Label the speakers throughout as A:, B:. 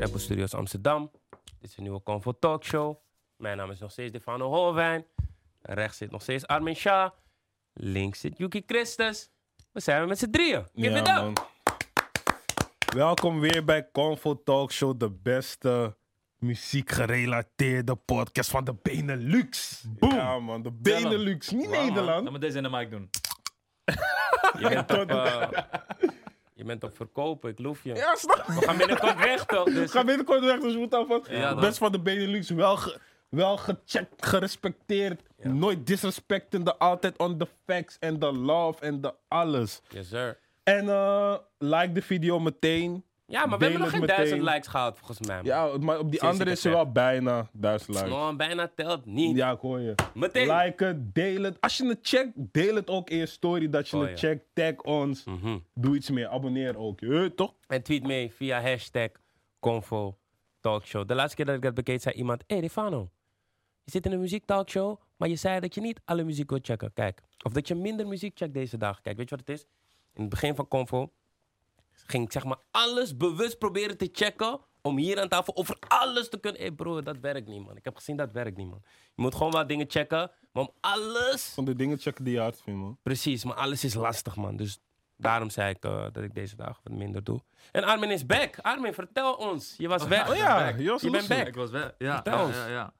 A: Vocal Studios Amsterdam. Dit is een nieuwe Convo Talk Show. Mijn naam is nog steeds Defano Holwijn. Rechts zit nog steeds Armin Shah. Links zit Yuki Christus. We zijn weer met z'n drieën. Give it up.
B: man. Welkom weer bij Convo Talk Show, de beste muziekgerelateerde podcast van de Benelux. Boom. Ja man, de
C: Tell 'em.
B: Benelux, niet
A: man.
B: Nederland.
C: Laat me deze in de mic doen.
A: Je bent op, eh, je bent op verkopen, ik loef je.
B: Ja, snap je?
A: We gaan binnenkort weg toch?
B: Ik
A: Dus
B: ga binnenkort weg, dus je moet alvast.
C: Ja, man.
B: best van de Benelux, wel, ge- wel gecheckt, gerespecteerd. Nooit disrespectende, altijd on the facts en the love en de alles.
A: yes sir.
B: En eh, like de video meteen.
A: Ja, maar we hebben nog
B: Delen
A: geen
B: meteen.
A: duizend likes gehaald volgens mij. man.
B: Ja, maar op die
A: Sinds
B: andere
A: ik
B: is ze
A: het
B: wel bijna duizend likes.
A: Oh, bijna telt niet.
B: Ja, ik hoor je.
A: Meteen.
B: Like het, deel het. Als je het checkt, deel het ook in je story dat je
A: Oh,
B: het
A: ja.
B: checkt. Tag ons.
A: Mhm.
B: Doe iets meer. Abonneer ook. Je, toch?
A: En tweet mee via hashtag Convo Talkshow. De laatste keer dat ik dat bekeek, zei iemand: Hé, hey, Rifano, je zit in een muziektalkshow, maar je zei dat je niet alle muziek wilt checken. Kijk, of dat je minder muziek checkt deze dag. Kijk, weet je wat het is? In het begin van Convo ging ik zeg maar alles bewust proberen te checken. Om hier aan tafel over alles te kunnen. Hé hey broer, dat werkt niet, man. Ik heb gezien dat werkt niet, man. Je moet gewoon wat dingen checken. Maar om alles
B: Van de dingen checken die je hard vindt, man.
A: Precies, maar alles is lastig, man. Dus daarom zei ik eh, dat ik deze dagen wat minder doe. En Armin is back. Armin, vertel ons. Je was weg.
B: Oh ja, Jos
A: Je bent
B: Loesie.
A: back.
C: Ik was wel. Ja,
A: Vertel
C: ja,
A: ons.
C: ja, ja.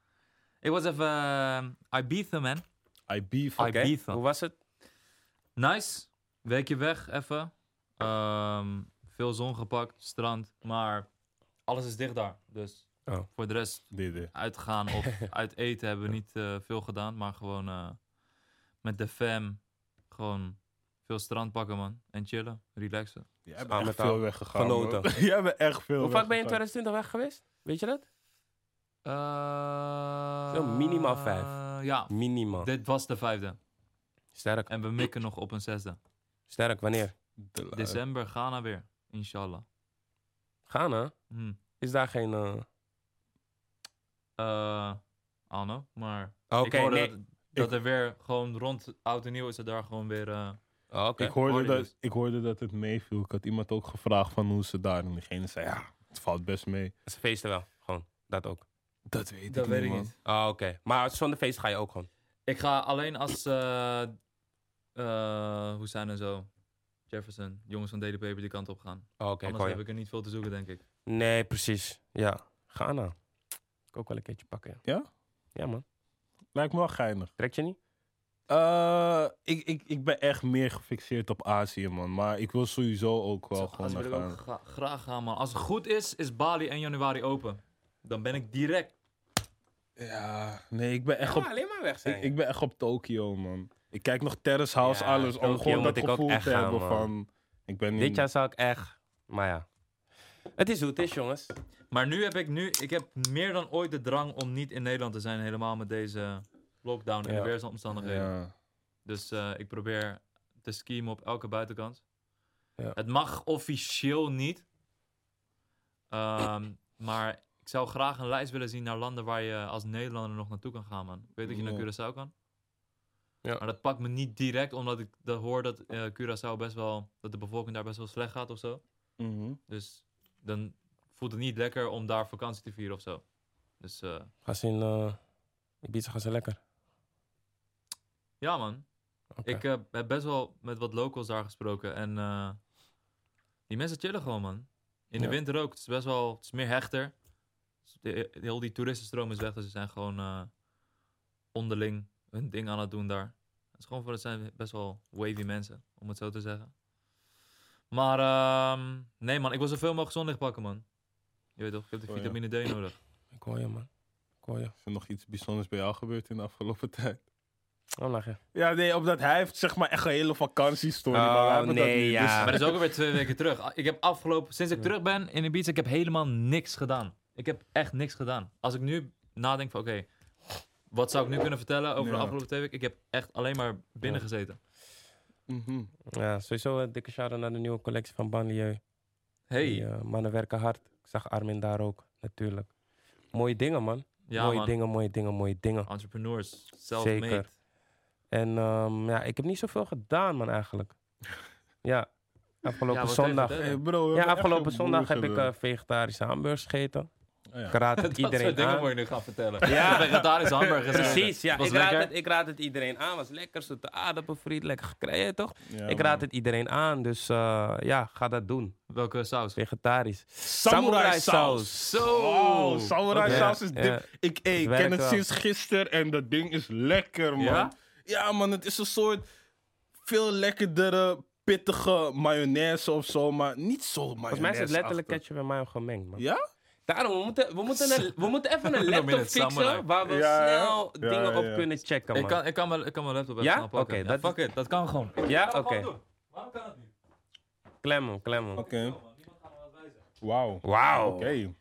C: Ik was even eh, Ibiza, man.
B: I beef.
C: I
A: Oké,
C: Ibiza.
A: Hoe was het?
C: Nice. Weekje weg, even. Ehm, veel zon gepakt, strand. Maar alles is dicht daar. Dus
A: Oh.
C: voor de rest
B: Dit, dit.
C: uitgaan of uit eten hebben we niet eh, veel gedaan. Maar gewoon eh, met de fam gewoon veel strand pakken, man. En chillen, relaxen.
B: Jij bent
A: Aan
B: echt
A: met haar
B: veel weggegaan.
A: genoten.
B: man. Jij bent echt veel
A: Hoe vaak ben je in
B: weggegaan.
A: 2020 weg geweest? Weet je dat?
C: Eh,
A: Zo, minimaal vijf.
C: Ja,
A: Minimaal.
C: dit was de vijfde.
A: Sterk.
C: En we mikken nog op een zesde.
A: Sterk, wanneer?
B: De la-
C: December Ghana weer, inshallah.
A: Ghana?
C: Hm.
A: Is daar geen... eh,
C: Eh, Anno, maar
A: Oké,
C: ik hoorde
A: nee.
C: dat, dat er weer gewoon rond oud en nieuw is er daar gewoon weer... eh,
A: Oh, Oké.
B: Ik hoorde,
C: hoorde
B: dat,
C: dus.
B: ik hoorde dat het meeviel. Ik had iemand ook gevraagd van hoe ze daar. En diegene zei, ja, het valt best mee.
A: Ze feesten wel. Gewoon. Dat ook.
B: Dat weet
C: dat
B: ik
C: weet
B: niet,
C: ik
B: man.
C: niet.
A: Oh, Oké. Maar zonder feest ga je ook gewoon.
C: Ik ga alleen als... eh eh, hoe zijn er zo? Jefferson, jongens van Daily Paper die kant op gaan.
A: Oh, Oké, ik
C: Anders
A: hoor
C: heb
A: je.
C: ik er niet veel te zoeken, denk ik.
A: Nee, precies. Ja. Ghana. Ik ook wel een keertje pakken.
B: Ja?
A: Ja, man.
B: Lijkt me wel geinig.
A: Trek je niet?
B: Eh, ik, ik, ik ben echt meer gefixeerd op Azië, man. Maar ik wil sowieso ook wel
C: Zo,
B: gewoon
C: als
B: naar
C: wil ik
B: gaan.
C: ook gra- graag gaan, man. Als het goed is, is Bali 1 januari open. Dan ben ik direct.
B: Ja, nee, ik ben echt
A: Ja,
B: op,
A: alleen maar weg zijn.
B: ik, ik ben echt op Tokio, man. Ik kijk nog Terrace House,
A: Ja,
B: alles, om
A: Tokio
B: gewoon
A: moet
B: dat
A: ik ook
B: gevoel
A: echt
B: te
A: gaan,
B: hebben
A: man.
B: van... Ik ben in...
A: Dit jaar zou ik echt. Maar ja. Het is hoe het is, jongens.
C: Maar nu heb ik nu, ik heb meer dan ooit de drang om niet in Nederland te zijn, helemaal met deze lockdown en
A: Ja.
C: de weersomstandigheden.
B: ja.
C: Dus eh, ik probeer te skiemen op elke buitenkant.
A: Ja.
C: Het mag officieel niet. Ehm, maar ik zou graag een lijst willen zien naar landen waar je als Nederlander nog naartoe kan gaan, man. Ik weet dat je
B: Ja.
C: naar Curaçao kan.
A: Ja.
C: Maar dat pakt me niet direct, omdat ik dat hoor dat eh, Curaçao best wel, dat de bevolking daar best wel slecht gaat of zo.
B: Mhm.
C: Dus dan voelt het niet lekker om daar vakantie te vieren of zo. Dus eh,
A: Gaan ze in. eh Ibiza gaan ze lekker.
C: ja, man.
A: Oké.
C: Ik eh, heb best wel met wat locals daar gesproken. En eh, die mensen chillen gewoon, man. In de
A: Ja.
C: winter ook. Het is best wel, het is meer hechter. Dus de- heel die toeristenstroom is weg. Dus ze zijn gewoon eh, onderling hun ding aan het doen daar. Het, is gewoon, voor- het zijn best wel wavy mensen, om het zo te zeggen. Maar ehm, nee, man. Ik wil zoveel mogelijk zonlicht pakken, man. Je weet toch, ik heb de
B: Oh, ja.
C: vitamine D nodig.
A: Ik hoor je, man. Ik hoor je.
B: Is er nog iets bijzonders bij jou gebeurd in de afgelopen tijd?
A: Oh, lach je.
B: Ja, nee, omdat hij heeft zeg maar echt een hele vakantiestory.
A: Oh,
B: maar wij hebben dat
A: nee,
B: niet,
A: ja.
B: dus-
C: Maar dat is ook alweer twee weken terug. Ah, Ik heb afgelopen, sinds ik
A: Ja.
C: terug ben in Ibiza, ik heb helemaal niks gedaan. Ik heb echt niks gedaan. Als ik nu nadenk van, oké, wat zou ik nu kunnen vertellen over de
B: Ja.
C: afgelopen twee weken? Ik heb echt alleen maar binnen
A: Ja.
C: gezeten.
B: Mhm.
A: Ja, sowieso een dikke shout naar de nieuwe collectie van Banlieu. Die
C: Hey,
A: eh, mannen werken hard. Ik zag Armin daar ook, natuurlijk. Mooie dingen, man.
C: ja
A: mooie
C: man,
A: dingen, mooie dingen, mooie dingen.
C: entrepreneurs, self-made.
A: Zeker. En ehm, ja, ik heb niet zoveel gedaan, man, eigenlijk. ja. Afgelopen
C: wat
A: zondag.
C: heeft het, hè?
B: Hey, bro, we
A: Ja,
B: hebben echt
A: afgelopen
B: een
A: zondag heb ik
B: boerengedoe.
A: eh, vegetarische hamburgers gegeten.
B: Oh ja.
A: Ik raad het
C: Dat soort
A: iedereen
C: dingen moet
A: aan.
C: je nu gaan vertellen.
A: Ja.
C: Ja, vegetarische hamburgers.
A: Precies, ja.
C: Was
A: Ik raad,
C: lekker.
A: het, ik raad het iedereen aan. Was lekker, zoete aardappelfriet, lekker gekregen, toch?
B: Ja,
A: ik
B: man.
A: raad het iedereen aan, dus eh, ja, ga dat doen.
C: Welke saus?
A: Vegetarisch.
B: Samurai saus.
C: Zo!
B: Wow, Oh, samurai
A: Ja,
B: saus is
A: ja.
B: dip. Ik, eh, ik
A: werkt
B: ken het
A: wel.
B: sinds gisteren en dat ding is lekker, man.
C: Ja?
B: Ja, man, het is een soort veel lekkerdere, pittige mayonaise of zo, maar niet zo mayonaise.
A: Volgens mij is het letterlijk ketchup en mayo gemengd, man.
B: Ja?
A: Daarom, we moeten, we moeten, een, we moeten even een
C: Noem je
A: laptop
C: het samurai?
A: fixen waar we
B: Ja, ja.
A: snel
B: Ja,
A: dingen
B: ja,
A: op
B: ja.
A: kunnen checken, man.
C: Ik kan, ik, kan mijn, ik kan mijn laptop even
A: Ja?
C: snel pakken.
A: Oké, dat-
C: fuck it, dat kan gewoon.
A: Ja? Oké.
C: Waarom kan dat niet?
A: Klem hem, klem hem.
B: Oké. Wauw.
A: Wauw.
B: Oké.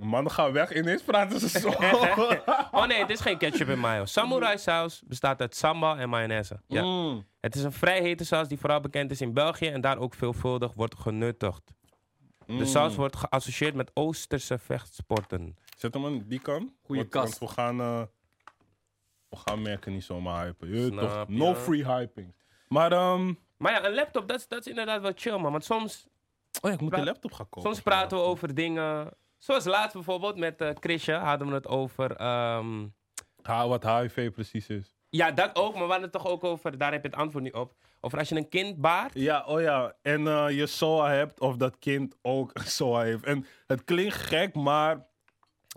B: Mannen gaan weg, ineens praten ze zo.
A: Oh nee, het is geen ketchup en mayo. Samurai saus bestaat uit sambal en mayonaise. Ja.
B: Mm.
A: Het is een vrij hete saus die vooral bekend is in België en daar ook veelvuldig wordt genuttigd.
B: Mm.
A: De saus wordt geassocieerd met Oosterse vechtsporten.
B: Zet hem aan die kant.
C: Goeie
B: want,
C: kast.
B: want we gaan, eh, we gaan merken niet zomaar hypen. Je weet
A: Snap
B: toch?
A: je.
B: No free hyping. Maar, ehm,
A: Maar ja, een laptop, dat is, dat is inderdaad wel chill, man. Want soms,
B: oh ja, ik moet
A: Pra-
B: de laptop gaan kopen.
A: soms praten we over dingen. Zoals laatst bijvoorbeeld met eh Chrisje hadden we het over. ehm,
B: Ha, wat HIV precies is.
A: ja, dat ook, maar we hadden het toch ook over. Daar heb je het antwoord niet op. Over als je een kind baart.
B: Ja, oh ja. En eh, je SOA hebt of dat kind ook een SOA heeft. En het klinkt gek, maar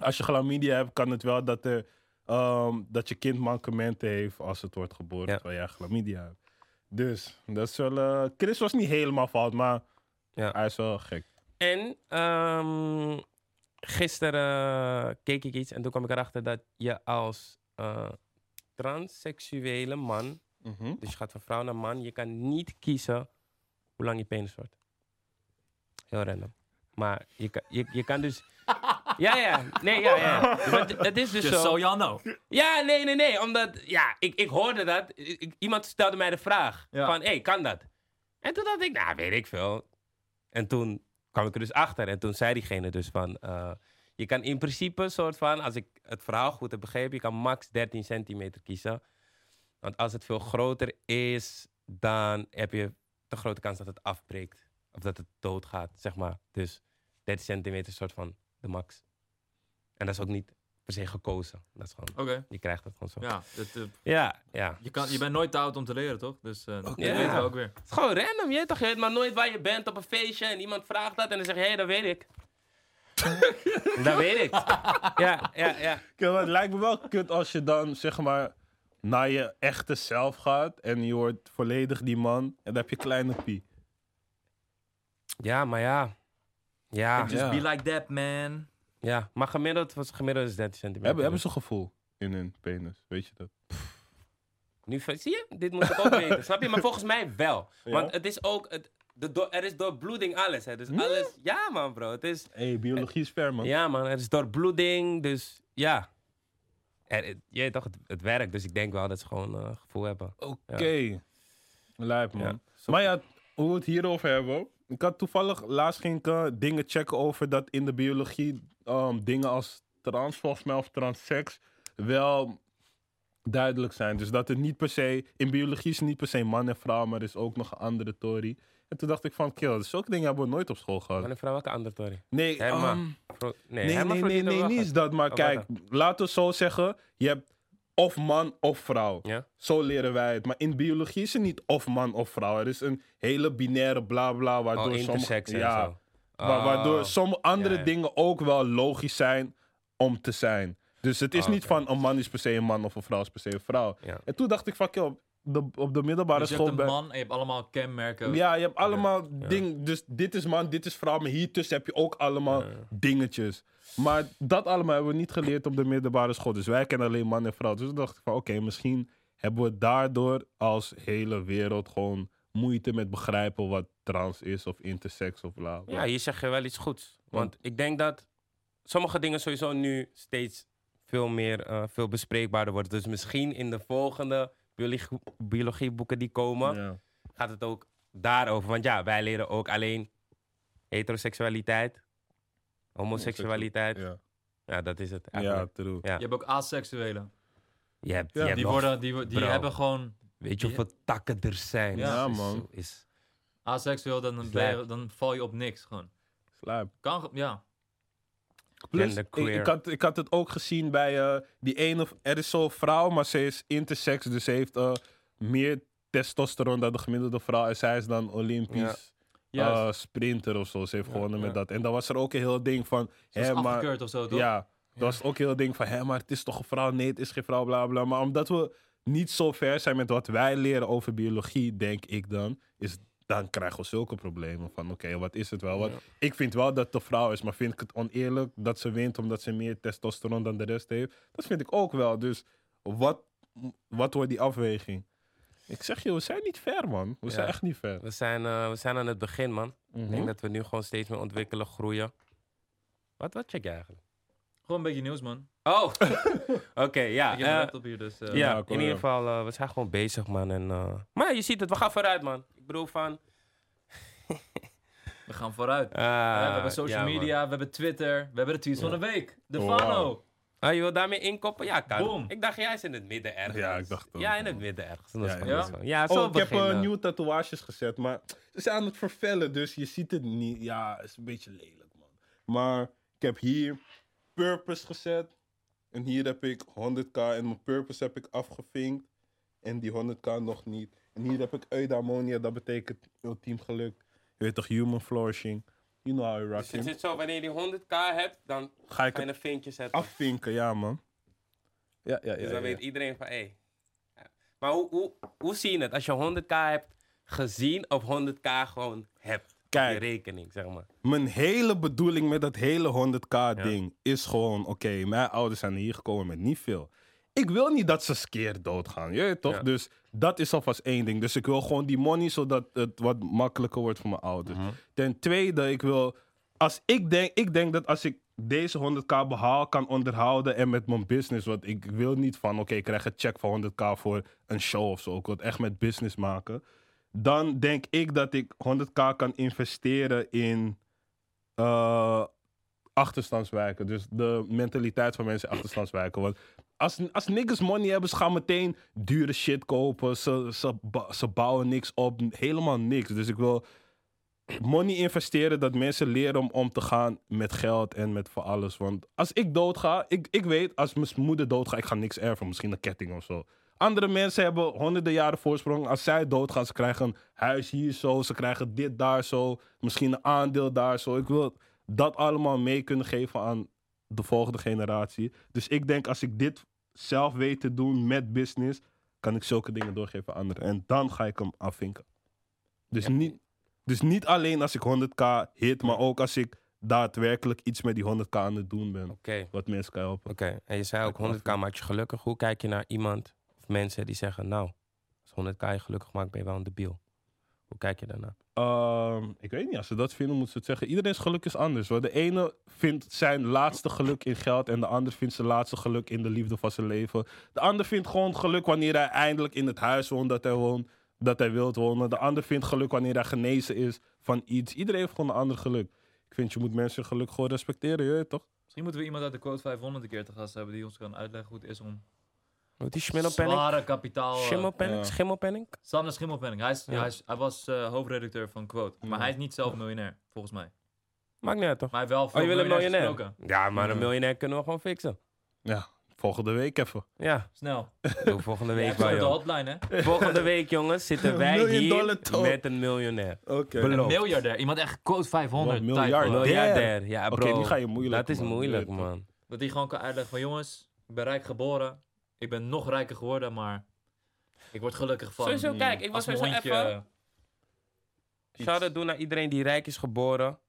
B: als je chlamydia hebt, kan het wel dat, er, ehm, dat je kind mankementen heeft als het wordt geboren
A: Ja.
B: terwijl jij chlamydia hebt. Dus, dat is wel... eh, Chris was niet helemaal fout, maar
A: Ja.
B: hij is wel gek.
A: En ehm, gisteren eh, keek ik iets en toen kwam ik erachter dat je als eh, transseksuele man, dus je gaat van vrouw naar man, je kan niet kiezen hoe lang je penis wordt. Heel random. Maar je kan, je, je kan dus. Ja, ja. Nee, ja, ja. Maar d- het is dus
C: Just
A: zo.
C: so y'all know.
A: Ja, nee, nee, nee. Omdat, ja, ik, ik hoorde dat. I- ik- iemand stelde mij de vraag.
C: Ja.
A: Van, hé, hey, kan dat? En toen dacht ik, nou, weet ik veel. En toen kwam ik er dus achter. En toen zei diegene dus van... eh, je kan in principe soort van, als ik het verhaal goed heb begrepen... je kan max 13 centimeter kiezen. Want als het veel groter is, dan heb je de grote kans dat het afbreekt. Of dat het doodgaat, zeg maar. Dus 13 centimeter is soort van de max. En dat is ook niet per se gekozen. Dat is gewoon...
C: Oké.
A: Je krijgt het gewoon zo. Ja,
C: Ja, dit, eh,
A: ja. ja.
C: je, kan, je bent nooit te oud om te leren, toch? Dus eh dat
A: Ja.
C: weten we ook weer.
A: Het is gewoon random, je weet toch? Je weet maar nooit waar je bent op een feestje en iemand vraagt dat en dan zeg je, hé, hey, dat weet ik. dat weet ik. Ja, ja, ja.
B: Ja, maar het lijkt me wel kut als je dan zeg maar naar je echte zelf gaat en je wordt volledig die man en dan heb je kleine pie.
A: Ja, maar ja. Ah, Ja,
C: Just
B: Ja.
C: be like that, man.
A: ja. Maar gemiddeld, was gemiddeld is 13 centimeter.
B: Hebben, hebben ze een gevoel in hun penis, weet je dat?
A: Nu ver- zie je, dit moet ik ook weten. Snap je? Maar volgens mij wel.
B: Ja?
A: Want het is ook, het, de door- er is doorbloeding alles. Hè. Dus alles, ja man bro. Het is,
B: Hé, hey, biologie is ver man.
A: ja man, er is doorbloeding. Dus ja. Er, het- je weet toch, het, het werkt. Dus ik denk wel dat ze gewoon eh, gevoel hebben.
B: Oké. Lijp man.
A: Ja,
B: maar ja, hoe we het hierover hebben. Ik had toevallig laatst ging ik eh, dingen checken over dat in de biologie ehm, dingen als trans volgens mij of transseks wel duidelijk zijn. Dus dat er niet per se, in biologie is het niet per se man en vrouw, maar er is ook nog een andere theorie. En toen dacht ik van, kill, zulke dingen hebben we nooit op school
A: Maar
B: gehad.
A: een vrouw, welke andere Tory?
B: Nee,
A: Herma.
B: ehm,
A: Fro- nee,
B: Nee,
A: Herman
B: nee, nee,
A: Florida
B: nee,
A: wel
B: niet
A: gaat.
B: eens dat. Maar
A: Oh,
B: kijk, laten we zo zeggen. Je hebt of man of vrouw.
A: Ja.
B: Zo leren wij het. Maar in biologie is het niet of man of vrouw. Er is een hele binaire bla bla. Waardoor
A: Oh,
B: sommige,
A: intersex en
B: ja,
A: zo.
B: wa-
A: Oh,
B: Waardoor sommige andere
A: Ja, ja.
B: dingen ook wel logisch zijn om te zijn. Dus het is
A: Oh,
B: niet
A: oké.
B: van een man is per se een man of een vrouw is per se een vrouw.
A: Ja.
B: En toen dacht ik van, joh, op de, op de middelbare
C: Dus je
B: school...
C: hebt een
B: ben-
C: man en je hebt allemaal kenmerken.
B: ja, je hebt allemaal dingen. Dus dit is man, dit is vrouw. Maar hiertussen heb je ook allemaal dingetjes. Maar dat allemaal hebben we niet geleerd op de middelbare school. Dus wij kennen alleen man en vrouw. Dus toen dacht ik van oké, misschien hebben we daardoor als hele wereld gewoon moeite met begrijpen wat trans is of intersex of bla. bla.
A: Ja, hier zeg je wel iets goeds. Want ik denk dat sommige dingen sowieso nu steeds veel meer eh, veel bespreekbaarder worden. Dus misschien in de volgende biologie, biologieboeken die komen,
B: Ja.
A: gaat het ook daarover. Want ja, wij leren ook alleen heteroseksualiteit, homoseksualiteit. Ja,
B: Ja,
A: dat is het
B: ja
A: eigenlijk.
B: true.
A: Ja.
C: Je hebt ook aseksuelen.
A: Je hebt,
B: Ja.
A: je hebt
C: Die,
A: nog-
C: worden, die, wo- die
A: Bro.
C: hebben gewoon...
A: Weet je hoeveel takken er zijn?
C: Ja,
A: Het is-
B: man.
A: Is,
C: Asexueel, dan, dan, ben je, dan val je op niks gewoon.
B: Slijp.
C: Kan, ge- ja.
B: Plus, ik,
A: Genderqueer.
B: ik had, ik had het ook gezien bij eh, die ene... Er is zo'n vrouw, maar ze is intersex. Dus ze heeft eh, meer testosteron dan de gemiddelde vrouw. En zij is dan Olympisch
C: Juist.
B: eh, sprinter of zo. Ze heeft
A: Ja,
B: gewonnen met
A: ja.
B: dat. En dan was er ook een heel ding van...
C: Ze is
B: hè, maar-
C: afgekeurd of zo, toch?
B: Ja, dat was ook heel ding van, hé, maar het is toch een vrouw? Nee, het is geen vrouw, bla bla. Maar omdat we niet zo ver zijn met wat wij leren over biologie, denk ik dan, is, dan krijgen we zulke problemen van, oké, Oh, wat is het wel? Want
A: Ja.
B: ik vind wel dat het een vrouw is, maar vind ik het oneerlijk dat ze wint omdat ze meer testosteron dan de rest heeft? Dat vind ik ook wel. Dus wat, wat wordt die afweging? Ik zeg je, we zijn niet ver, man. We
A: Ja.
B: zijn echt niet ver.
A: We zijn, eh, we zijn aan het begin, man.
B: Mhm.
A: Ik denk dat we nu gewoon steeds meer ontwikkelen, groeien. Wat, wat check je eigenlijk?
C: Gewoon een beetje nieuws, man.
A: Oh! Oké, ja.
C: ik heb een
A: eh,
C: laptop hier, dus... eh,
A: Ja,
B: Ja,
A: in
B: kom
A: ieder
B: maar.
A: geval, eh, we zijn gewoon bezig, man. En, eh, maar je ziet het, we gaan vooruit, man. Ik bedoel van...
C: We gaan vooruit.
A: eh,
C: we hebben social
A: ja, man.
C: media, we hebben Twitter, we hebben de tweets van de week. De
B: Wow.
C: Fano.
A: Ah, je wil daarmee inkoppen? Ja, kan.
C: Boom.
A: Ik dacht, jij is in het midden ergens.
B: Ja, ik dacht ook.
A: Ja, in het midden ergens. Dat is
B: Ja,
A: wel
C: ja.
A: zo. ja zo
B: Oh, ik heb eh,
A: beginnen. Dus
B: nieuwe tatoeages gezet, maar ze zijn aan het vervellen, dus je ziet het niet. Ja, is een beetje lelijk, man. Maar ik heb hier Purpose gezet. En hier heb ik 100k en mijn Purpose heb ik afgevinkt. En die 100k nog niet. En hier heb ik Eudamonia, dat betekent ultiem geluk. Je weet toch, human flourishing. You know how I rock
A: Dus het
B: him.
A: zit zo, wanneer je die 100k hebt, dan
B: Ga ik
A: ga je
B: het
A: een vinkje zetten.
B: afvinken, ja, man. Ja, ja, ja.
A: dus
B: ja,
A: dan
B: ja.
A: weet iedereen van, hé. Hey. Ja. Maar hoe, hoe, hoe zie je het als je 100k hebt gezien of 100k gewoon hebt?
B: Kijk.
A: Je rekening, zeg maar.
B: Mijn hele bedoeling met dat hele 100k ding is gewoon: oké, mijn ouders zijn hier gekomen met niet veel. Ik wil niet dat ze skeer doodgaan, je weet toch?
A: Ja.
B: Dus dat is alvast één ding. Dus ik wil gewoon die money zodat het wat makkelijker wordt voor mijn ouders. Ten tweede, ik wil, als ik denk, ik denk dat als ik deze 100k behaal, kan onderhouden en met mijn business, want ik wil niet van, oké, ik krijg een check van 100k voor een show of zo. Ik wil het echt met business maken. Dan denk ik dat ik 100k kan investeren in eh, achterstandswijken. Dus de mentaliteit van mensen in achterstandswijken. Want als, als niggas money hebben, ze gaan meteen dure shit kopen. Ze, ze, ba- ze bouwen niks op. Helemaal niks. Dus ik wil money investeren dat mensen leren om om te gaan met geld en met voor alles. Want als ik doodga, ik, ik weet, als mijn moeder doodgaat, ik ga niks erven. Misschien een ketting of zo. Andere mensen hebben honderden jaren voorsprong. Als zij doodgaan, ze krijgen een huis hier zo. Ze krijgen dit daar zo. Misschien een aandeel daar zo. Ik wil dat allemaal mee kunnen geven aan de volgende generatie. Dus ik denk, als ik dit zelf weet te doen met business, kan ik zulke dingen doorgeven aan anderen. En dan ga ik hem afvinken. Dus,
A: Ja.
B: niet, dus niet alleen als ik 100k hit, maar ook als ik daadwerkelijk iets met die 100k aan het doen ben.
A: Oké.
B: Wat mensen kan helpen.
A: Oké, en je zei ook 100k maakt je gelukkig. Hoe kijk je naar iemand of mensen die zeggen, nou, als 100k je gelukkig maakt, ben je wel een debiel. Hoe kijk je daarna?
B: Ehm, ik weet niet, als ze dat vinden, moeten ze het zeggen. Iedereen's geluk is anders. Hoor. De ene vindt zijn laatste geluk in geld en de ander vindt zijn laatste geluk in de liefde van zijn leven. De ander vindt gewoon geluk wanneer hij eindelijk in het huis woont dat hij woont, dat hij wilt wonen. De ander vindt geluk wanneer hij genezen is van iets. Iedereen heeft gewoon een ander geluk. Ik vind, je moet mensen hun geluk gewoon respecteren, je weet toch?
C: Misschien moeten we iemand uit de Quote 500 een keer te gast hebben die ons kan uitleggen hoe het is om
A: Wat is schimmelpenning?
C: zware kapitaal... eh,
A: Schimmelpenning?
B: Ja.
A: Schimmelpenning?
C: Sander Schimmelpenning. Hij, is,
A: Ja.
C: hij, is- hij was eh, hoofdredacteur van Quote. Maar
B: Ja.
C: hij is niet zelf miljonair, volgens mij.
A: Maakt niet uit, toch?
C: Maar hij heeft wel
A: Oh,
C: veel
A: je wil een
C: miljonairs
A: miljonair?
C: gesproken.
A: Ja, maar een
B: Ja.
A: miljonair kunnen we gewoon fixen.
B: Volgende week even.
A: Ja,
C: Snel.
A: doe volgende
C: Hij
A: week
C: heeft
A: wel,
C: op de
A: joh.
C: hotline, hè?
A: Volgende week, jongens, zitten wij
B: Million
A: hier
B: dollar talk.
A: met een miljonair.
B: Oké.
C: Een
A: Beloofd.
C: miljardair. Iemand echt Quote 500
B: Wat,
C: type,
B: miljard?
C: hoor.
A: Miljardair, ja
B: Oh, Oké,
A: bro.
B: die ga je moeilijk,
A: Dat is
B: man.
A: moeilijk,
B: Je weet
A: man.
C: Dat hij gewoon kan uitleggen van jongens, ik ben rijk geboren. Ik ben nog rijker geworden, maar ik word gelukkig van.
A: Sowieso,
B: mm,
A: kijk, ik was
C: als mijn
A: sowieso
C: hondje,
A: even...
C: eh,
B: Iets.
A: Shout-out doen naar iedereen die rijk is geboren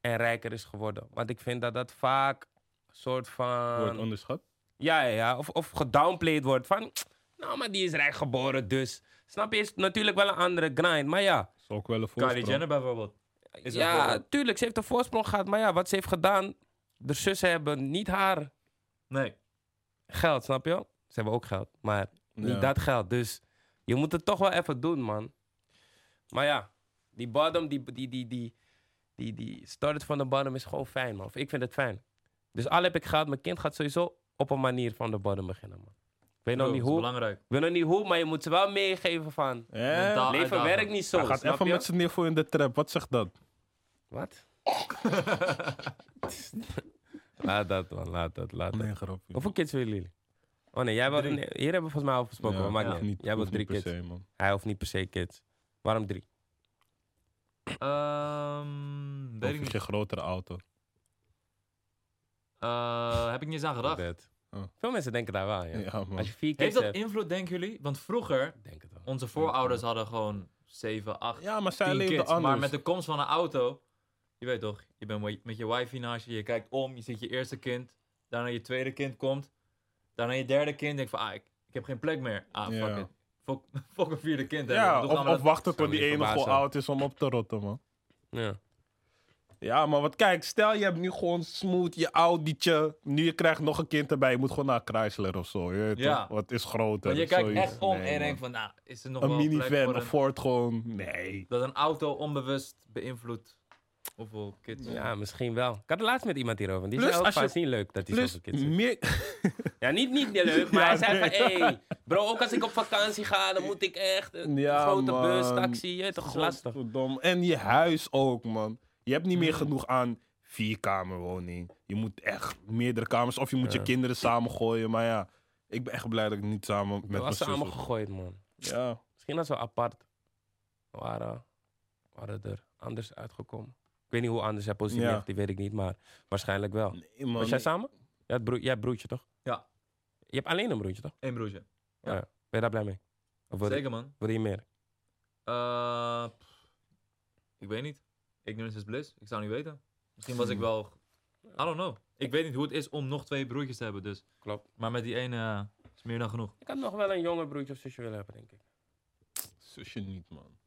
A: en rijker is geworden. Want ik vind dat dat vaak een soort
C: Ehm,
B: Wordt
A: van...
B: onderschat.
A: Ja, ja, ja. Of, of gedownplayed wordt van... Nou, maar die is rijk geboren, dus... Snap je? Is natuurlijk wel een andere grind, maar ja.
B: Is ook wel een
C: Kylie
B: voorsprong.
C: Jenner bijvoorbeeld. Is een
A: Ja,
C: voorbeeld.
A: tuurlijk, ze heeft een voorsprong gehad. Maar ja, wat ze heeft gedaan... De zussen hebben niet haar
C: Nee.
A: geld, snap je? wel? Ze hebben ook geld, maar
B: Ja.
A: niet dat geld. Dus je moet het toch wel even doen, man. Maar ja, die bottom, die, die, die, die, die, die started van de bottom is gewoon fijn, man. Of ik vind het fijn. Dus al heb ik geld, mijn kind gaat sowieso op een manier van de bottom beginnen, man. weet nog
C: Bro,
A: niet
C: dat is
A: hoe.
C: belangrijk.
A: weet nog niet hoe, maar je moet ze wel meegeven van...
B: Eh,
C: Mentaal.
A: Leven
C: uitdaging.
A: werkt niet zo,
B: Hij gaat
A: snap
B: even
A: je?
B: met z'n niveau in de trap. Wat zegt dat?
A: Wat? laat dat man, laat dat, laat dat.
B: Nee, grapje.
A: Hoeveel kids willen jullie? Oh nee, jij wil,
C: Drie.
A: nee, hier hebben we volgens mij over gesproken,
B: Ja,
A: maar maakt
B: hoeft
A: niet uit. Jij wil
B: hoeft
A: drie
B: niet per
A: kids.
B: se, man.
A: Hij hoeft niet per se kids. Waarom drie?
C: Ehm,
B: Of
C: weet ik
B: is
C: niet.
B: je grotere auto.
C: Eh, heb ik niet eens aan gedacht.
A: Dat.
B: Oh.
A: Veel mensen denken daar wel, ja.
B: Ja, man.
A: Als je vier
C: Heeft
A: kids
C: dat
A: hebt,
C: invloed, denken jullie? Want vroeger,
A: denk het wel.
C: onze voorouders hadden gewoon 7, 8,
B: Ja, maar zij
C: 10
B: leefde
C: kids.
B: anders.
C: Maar met de komst van een auto, je weet toch, je bent wi- met je wifi naast je, je kijkt om, je ziet je eerste kind, daarna je tweede kind komt, daarna je derde kind, denk van, ah, ik, ik heb geen plek meer. Ah, fuck
B: Ja.
C: it. Fok, fok een vierde kind. hebben.
B: ja,
C: Doe
B: of,
C: gaan we
B: of
C: dat-
B: wachten tot
A: Zou
B: die
A: me niet
B: ene gewoon
A: verbazen.
B: oud is om op te rotten, man.
A: Ja.
B: Ja, maar wat kijk, stel je hebt nu gewoon smooth je Audi'tje. Nu je krijgt nog een kind erbij. Je moet gewoon naar Chrysler of zo. Je weet
C: Ja.
B: toch? Wat is groter.
C: Want je kijkt
B: zoiets.
C: echt om
B: Nee,
C: en je
B: man.
C: denkt van, nou, is er nog
B: Een
C: wel plek
B: minivan
C: voor
B: of
C: een-
B: Ford gewoon. Nee.
C: Dat een auto onbewust beïnvloedt hoeveel kids.
A: ja, misschien wel. Ik had het laatst met iemand hierover. Die
B: Plus,
A: zei ook
B: als
A: van,
B: je-
A: is niet leuk dat hij
B: Plus,
A: zoveel kids heeft.
B: meer,
A: Ja, niet, niet leuk, maar
B: Ja,
A: hij zei
B: nee.
A: van, hé, hey, bro, ook als ik op vakantie ga, dan moet ik echt een
B: Ja,
A: grote
B: man.
A: bus, taxi, je weet toch, is lastig.
B: Godverdomme. En je huis ook, man. Je hebt niet meer genoeg aan vierkamerwoning. Je moet echt meerdere kamers. Of je moet je kinderen samengooien. Maar ja, ik ben echt blij dat ik niet samen met
A: We
B: mijn
A: was
B: zus...
A: samen
B: was.
A: gegooid, man.
B: Ja.
A: Misschien als we apart waren, waren er anders uitgekomen. Ik weet niet hoe anders hij positie
B: Ja.
A: heeft, die weet ik niet, maar waarschijnlijk wel.
B: Nee, man.
A: was jij samen? Ja, het broer- jij hebt broertje, toch?
C: Ja.
A: Je hebt alleen een broertje, toch?
C: Eén broertje.
A: Ben je daar blij mee? Of wil,
C: Zeker, man.
A: wil je meer?
C: Eh, pff, ik weet niet. Ignorance is bliss. Ik zou niet weten. Misschien was ik wel... I don't know. Ik weet niet hoe het is om nog twee broertjes te hebben, dus.
A: Klopt.
C: Maar met die ene eh, is meer dan genoeg.
A: Ik had nog wel een jonger broertje of zusje willen hebben, denk ik.
B: Zusje niet, man.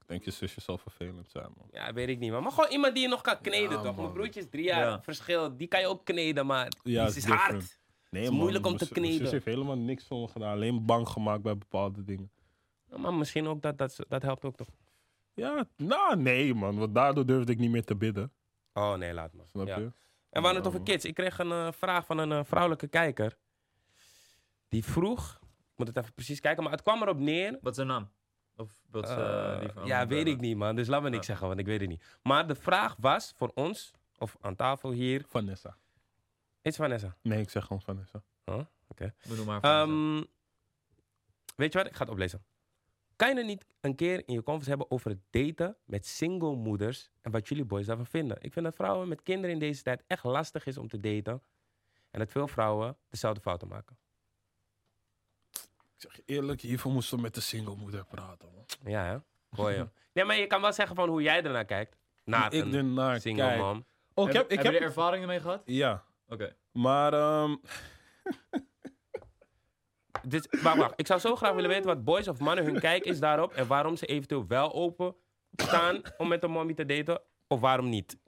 B: Ik denk je zusje zal vervelend zijn, man.
A: Ja, weet ik niet, man. Maar gewoon iemand die je nog kan kneden, toch?
B: Ja,
A: Mijn
B: man.
A: broertje is drie jaar
C: Ja.
A: verschil. Die kan je ook kneden, maar die is,
B: it's different.
A: hard.
B: Nee,
A: Het is moeilijk om
B: mijn
A: te
B: zus- mijn zus
A: kneden.
B: heeft helemaal niks van gedaan. Alleen bang gemaakt bij bepaalde dingen.
A: Maar misschien ook dat, dat, dat helpt ook toch?
B: Ja, nou nee, man. Want daardoor durfde ik niet meer te bidden.
A: Oh nee, laat maar.
B: Snap
A: Ja.
B: je?
A: En we hadden het
B: Ja,
A: over
B: man.
A: kids. Ik kreeg een eh, vraag van een eh, vrouwelijke kijker. Die vroeg, ik moet het even precies kijken, maar het kwam erop neer.
C: Wat is zijn naam? Of wat is eh,
A: eh,
C: die van-
A: ja, weet ik niet, man. Dus laat me niks
C: Ja.
A: zeggen, want ik weet het niet. Maar de vraag was voor ons, of aan tafel hier,
B: Vanessa.
A: iets Vanessa.
B: Nee, ik zeg gewoon Vanessa.
C: Benoem maar
A: Ehm,
C: even.
A: weet je wat? Ik ga het oplezen. Kan je het niet een keer in je conference hebben over het daten met single moeders en wat jullie boys daarvan vinden? Ik vind dat vrouwen met kinderen in deze tijd echt lastig is om te daten en dat veel vrouwen dezelfde fouten maken.
B: Ik zeg je eerlijk, hiervoor moesten we met de singlemoeder praten, man.
A: Ja, hè? Mooi, joh. Nee, maar je kan wel zeggen van hoe jij ernaar kijkt. Naar
B: ik
A: een
B: ernaar
A: single
B: kijk.
A: mom.
B: Oh, ik heb... Ik
C: Heb- Hebben jullie
B: heb
C: ervaringen mee gehad?
B: ja,
C: Oké.
B: maar... ehm,
A: Dit, wacht, wacht. Ik zou zo graag willen weten wat boys of mannen hun kijk is daarop en waarom ze eventueel wel open staan om met een mommy te daten of waarom niet.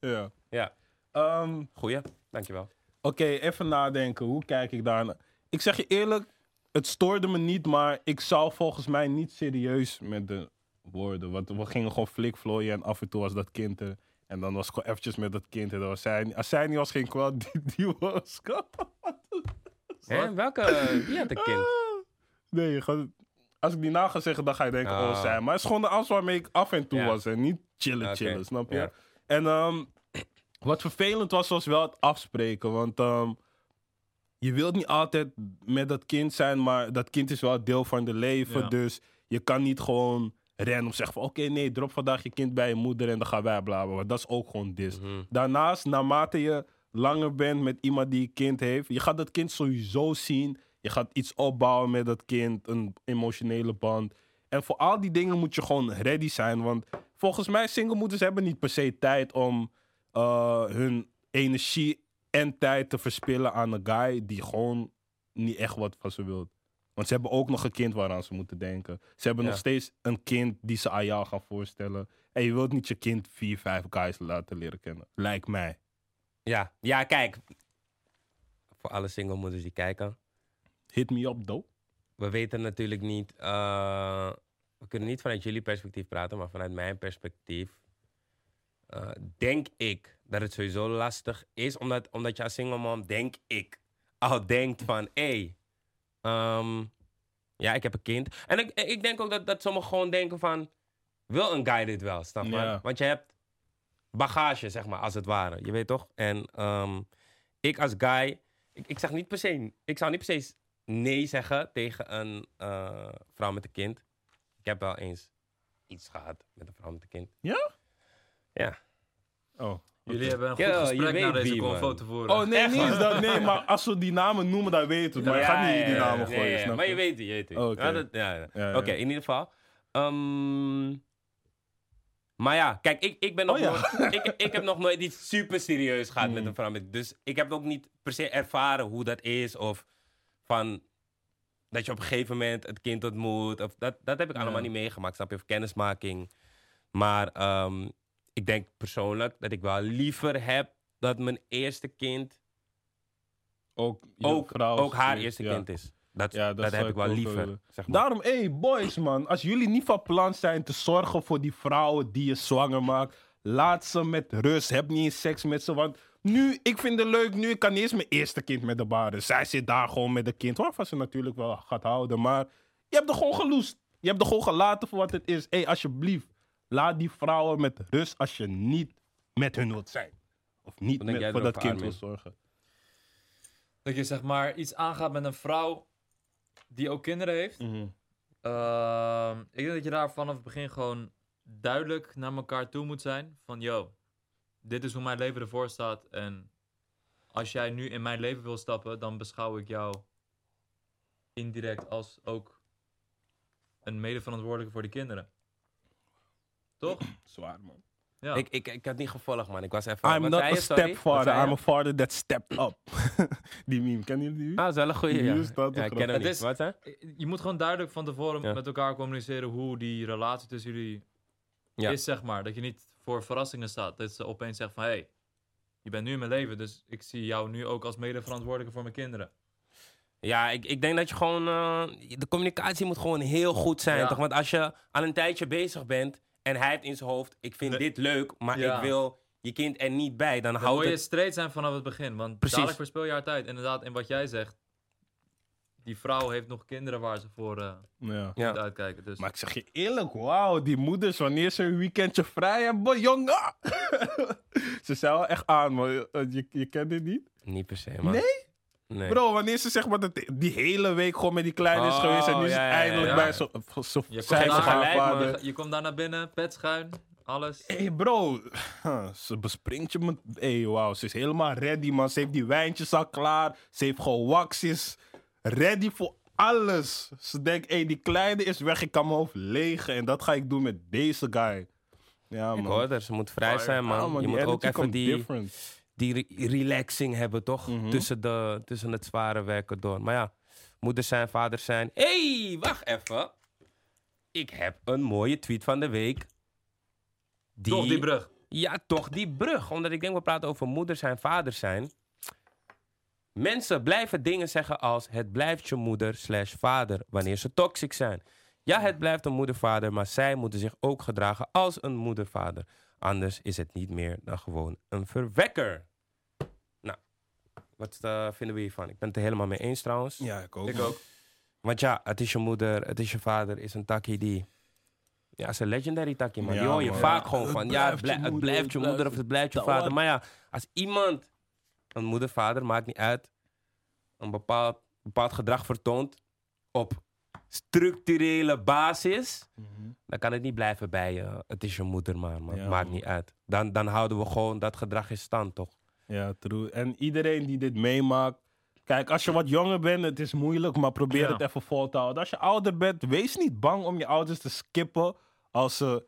B: ja.
A: Ja.
B: Ehm,
A: Goeie, dankjewel.
B: Oké, even nadenken. Hoe kijk ik daarna? Ik zeg je eerlijk, het stoorde me niet, maar ik zou volgens mij niet serieus met de woorden. Want we gingen gewoon flikvlooien en af en toe was dat kind er. En dan was ik gewoon eventjes met dat kind. En dan was zij, als zij niet was, ging ik wel. Die, die was
A: Hè? Ah. Welke? eh, Wie had een kind?
B: Ah! Nee, gewoon- als ik die na ga zeggen, dan ga je denken,
A: Ah.
B: oh, zij. Maar het is gewoon de afspraak waarmee ik af en toe
A: Ja.
B: was. En niet chillen,
A: Oké,
B: chillen, snap je?
A: ja.
B: En ehm, wat vervelend was, was wel het afspreken. Want ehm, je wilt niet altijd met dat kind zijn, maar dat kind is wel deel van de leven.
C: Ja.
B: Dus je kan niet gewoon random zeggen van, oké, nee, drop vandaag je kind bij je moeder en dan gaan wij blaben. Want dat is ook gewoon dis.
A: Mhm.
B: Daarnaast, naarmate je langer bent met iemand die een kind heeft, je gaat dat kind sowieso zien. Je gaat iets opbouwen met dat kind, een emotionele band. En voor al die dingen moet je gewoon ready zijn. Want volgens mij, singlemoeders hebben niet per se tijd om eh, hun energie en tijd te verspillen aan een guy die gewoon niet echt wat van ze wil. Want ze hebben ook nog een kind waaraan ze moeten denken. Ze hebben
A: Ja.
B: nog steeds een kind die ze aan jou gaan voorstellen. En je wilt niet je kind vier, vijf guys laten leren kennen. Lijkt mij.
A: Ja, ja, kijk. Voor alle single moeders die kijken.
B: Hit me up, though.
A: We weten natuurlijk niet. eh, we kunnen niet vanuit jullie perspectief praten, maar vanuit mijn perspectief. eh, denk ik dat het sowieso lastig is, omdat, omdat je als single mom, denk ik, al denkt van: hé, hey, Ehm, ja, ik heb een kind. En ik, ik denk ook dat, dat sommigen gewoon denken van... Wil een guy dit wel, snap je?
B: Ja.
A: Want je hebt bagage, zeg maar, als het ware. Je weet toch? En ehm, ik als guy... Ik, ik, zeg niet per se, ik zou niet per se nee zeggen tegen een eh, vrouw met een kind. Ik heb wel eens iets gehad met een vrouw met een kind.
B: Oh.
C: Jullie hebben een goed
A: Yo, je
C: gesprek
A: weet
C: na deze
A: wie, man.
C: convo tevoren.
B: Oh, nee, niet eens dat. Nee, maar als we die namen noemen, dan weet het. Maar je gaat niet die
A: ja,
B: namen
A: ja,
B: gooien,
A: ja,
B: snap
A: Maar
B: je? Oh,
A: je weet het, je weet het.
B: Oké.
A: Ja, dat- ja, ja.
B: Ja, ja.
A: Oké, in ieder geval. Ehm, maar ja, kijk, ik, ik ben nog
B: Oh ja. Hmm.
A: nooit... Ik, ik heb nog nooit iets super serieus gehad met een vrouw. met- Dus ik heb ook niet per se ervaren hoe dat is. Of van... Dat je op een gegeven moment het kind ontmoet. Of dat, dat heb ik allemaal
C: Ja.
A: niet meegemaakt, snap je? Of kennismaking. Maar ehm, ik denk persoonlijk dat ik wel liever heb dat mijn eerste kind
B: Ook, je
A: ook,
B: vrouw
A: ook haar
B: is-
A: eerste
B: ja.
A: kind is. Dat,
B: Ja, dat
A: dat,
B: zou
A: heb
B: ik
A: ik wel
B: ook wel
A: liever.
B: willen.
A: Zeg maar.
B: Daarom, hé, hey, boys, man. Als jullie niet van plan zijn te zorgen voor die vrouwen die je zwanger maakt, laat ze met rust. Heb niet eens seks met ze. Want nu, ik vind het leuk, nu ik kan niet eens mijn eerste kind met de baren. Zij zit daar gewoon met een kind, waarvan ze natuurlijk wel gaat houden. Maar je hebt er gewoon geloest. Je hebt er gewoon gelaten voor wat het is. Hé, hey, alsjeblieft, laat die vrouwen met rust als je niet met hun wilt zijn. Of niet
A: Wat denk
B: met,
A: jij
B: voor dat
A: erover,
B: kind wil
A: Armin?
B: zorgen.
C: Dat je zeg maar iets aangaat met een vrouw die ook kinderen heeft. Ehm, ik denk dat je daar vanaf het begin gewoon duidelijk naar elkaar toe moet zijn. Van, yo, dit is hoe mijn leven ervoor staat. En als jij nu in mijn leven wil stappen, dan beschouw ik jou indirect als ook een medeverantwoordelijke voor die kinderen. Toch?
B: Zwaar, man.
C: Ja.
A: Ik, ik, ik had niet gevolgd, man. Ik was even...
B: I'm
A: Oh, wat
B: not
A: zei
B: a
A: je? Sorry? Wat
B: stepfather,
A: zei je?
B: I'm a father that stepped up. die meme, kennen jullie die?
A: Ah, dat is wel een goeie, ja.
B: Hier staat
A: Ja,
B: het
A: ik ken hem
C: Het
A: niet.
C: is-
A: Wat, hè?
C: Eh, Je moet gewoon duidelijk van tevoren
A: Ja.
C: met elkaar communiceren hoe die relatie tussen jullie
A: Ja.
C: is, zeg maar. Dat je niet voor verrassingen staat. Dat ze opeens zegt van, hé, hey, je bent nu in mijn leven, dus ik zie jou nu ook als medeverantwoordelijke voor mijn kinderen.
A: Ja, ik, ik denk dat je gewoon... eh, de communicatie moet gewoon heel goed zijn,
C: Ja.
A: toch? Want als je al een tijdje bezig bent en hij heeft in zijn hoofd... Ik vind dit leuk, maar
C: Ja.
A: ik wil je kind er niet bij. Dan
C: Dan moet
A: houdt
C: je
A: het...
C: straight zijn vanaf het begin, want
A: Precies.
C: dadelijk verspil je haar tijd. Inderdaad, en wat jij zegt, die vrouw heeft nog kinderen waar ze voor eh,
B: Ja.
A: Ja.
C: moet uitkijken. Dus
B: Maar ik zeg je eerlijk, wauw, die moeders, wanneer ze een weekendje vrij hebben, jongen! ze zijn wel echt aan, man. Eh, Je, je kent dit niet?
A: Niet per se, man.
B: Nee?
A: Nee.
B: Bro, wanneer ze zeg maar dat die hele week gewoon met die kleine is
A: Oh,
B: geweest en
A: ja,
B: nu is het
A: ja, ja,
B: eindelijk
C: ja.
B: bij zo, zo,
C: je komt,
B: zijn
A: geeft
B: ze
A: gelijk,
C: daar,
B: gaan
A: man.
B: vader.
C: je, je komt daar naar binnen, pet schuin, alles.
B: Hé hey bro, Huh, ze bespringt je met... Hé hey, wauw, ze is helemaal ready man. Ze heeft die wijntjes al klaar. Ze heeft gewakt, ze is ready voor alles. Ze denkt, hé hey, die kleine is weg, ik kan mijn hoofd legen. En dat ga ik doen met deze guy. Ja
A: Ik
B: man.
A: hoor er, ze moet vrij
C: Fire.
A: zijn, man.
B: Ja, Ah, man,
A: je
B: die
A: moet ook
B: attitude
A: even
B: komt
A: die,
B: different.
A: die re- relaxing hebben, toch?
C: Mhm.
A: tussen, de, tussen het zware werken door. Maar ja, moeder zijn, vader zijn. Hé, hey, wacht even. Ik heb een mooie tweet van de week. Die,
C: Toch die brug.
A: Ja, toch die brug. Omdat ik denk, we praten over moeder zijn, vader zijn. Mensen blijven dingen zeggen als... het blijft je moeder slash vader wanneer ze toxic zijn. Ja, het blijft een moeder-vader, maar zij moeten zich ook gedragen als een moeder-vader. Anders is het niet meer dan gewoon een verwekker. Nou, wat eh, vinden we hiervan? Ik ben het er helemaal mee eens trouwens.
B: Ja, ik ook.
C: Ik
B: man.
C: ook.
A: Want ja, het is je moeder, het is je vader, is een takkie die... Ja, is een legendary takkie, man.
B: Ja,
A: die hoor je
B: man.
A: vaak
B: Ja,
A: gewoon
B: het
A: van. Ja, het,
B: blijft je
A: blij- het
B: moeder,
A: blijft
B: het
A: je moeder
B: blijft
A: of het blijft je
B: je
A: vader.
B: tante.
A: Maar ja, als iemand, een moeder, vader, maakt niet uit, een bepaald, bepaald gedrag vertoont op structurele basis,
B: Mhm.
A: dan kan het niet blijven bij eh, het is je moeder, maar man.
B: Ja,
A: maakt
B: man.
A: niet uit. Dan, dan houden we gewoon dat gedrag in stand, toch?
B: Ja, true. En iedereen die dit meemaakt. Kijk, als je wat jonger bent, het is moeilijk, maar probeer
C: Ja.
B: het even vol te houden. Als je ouder bent, wees niet bang om je ouders te skippen als ze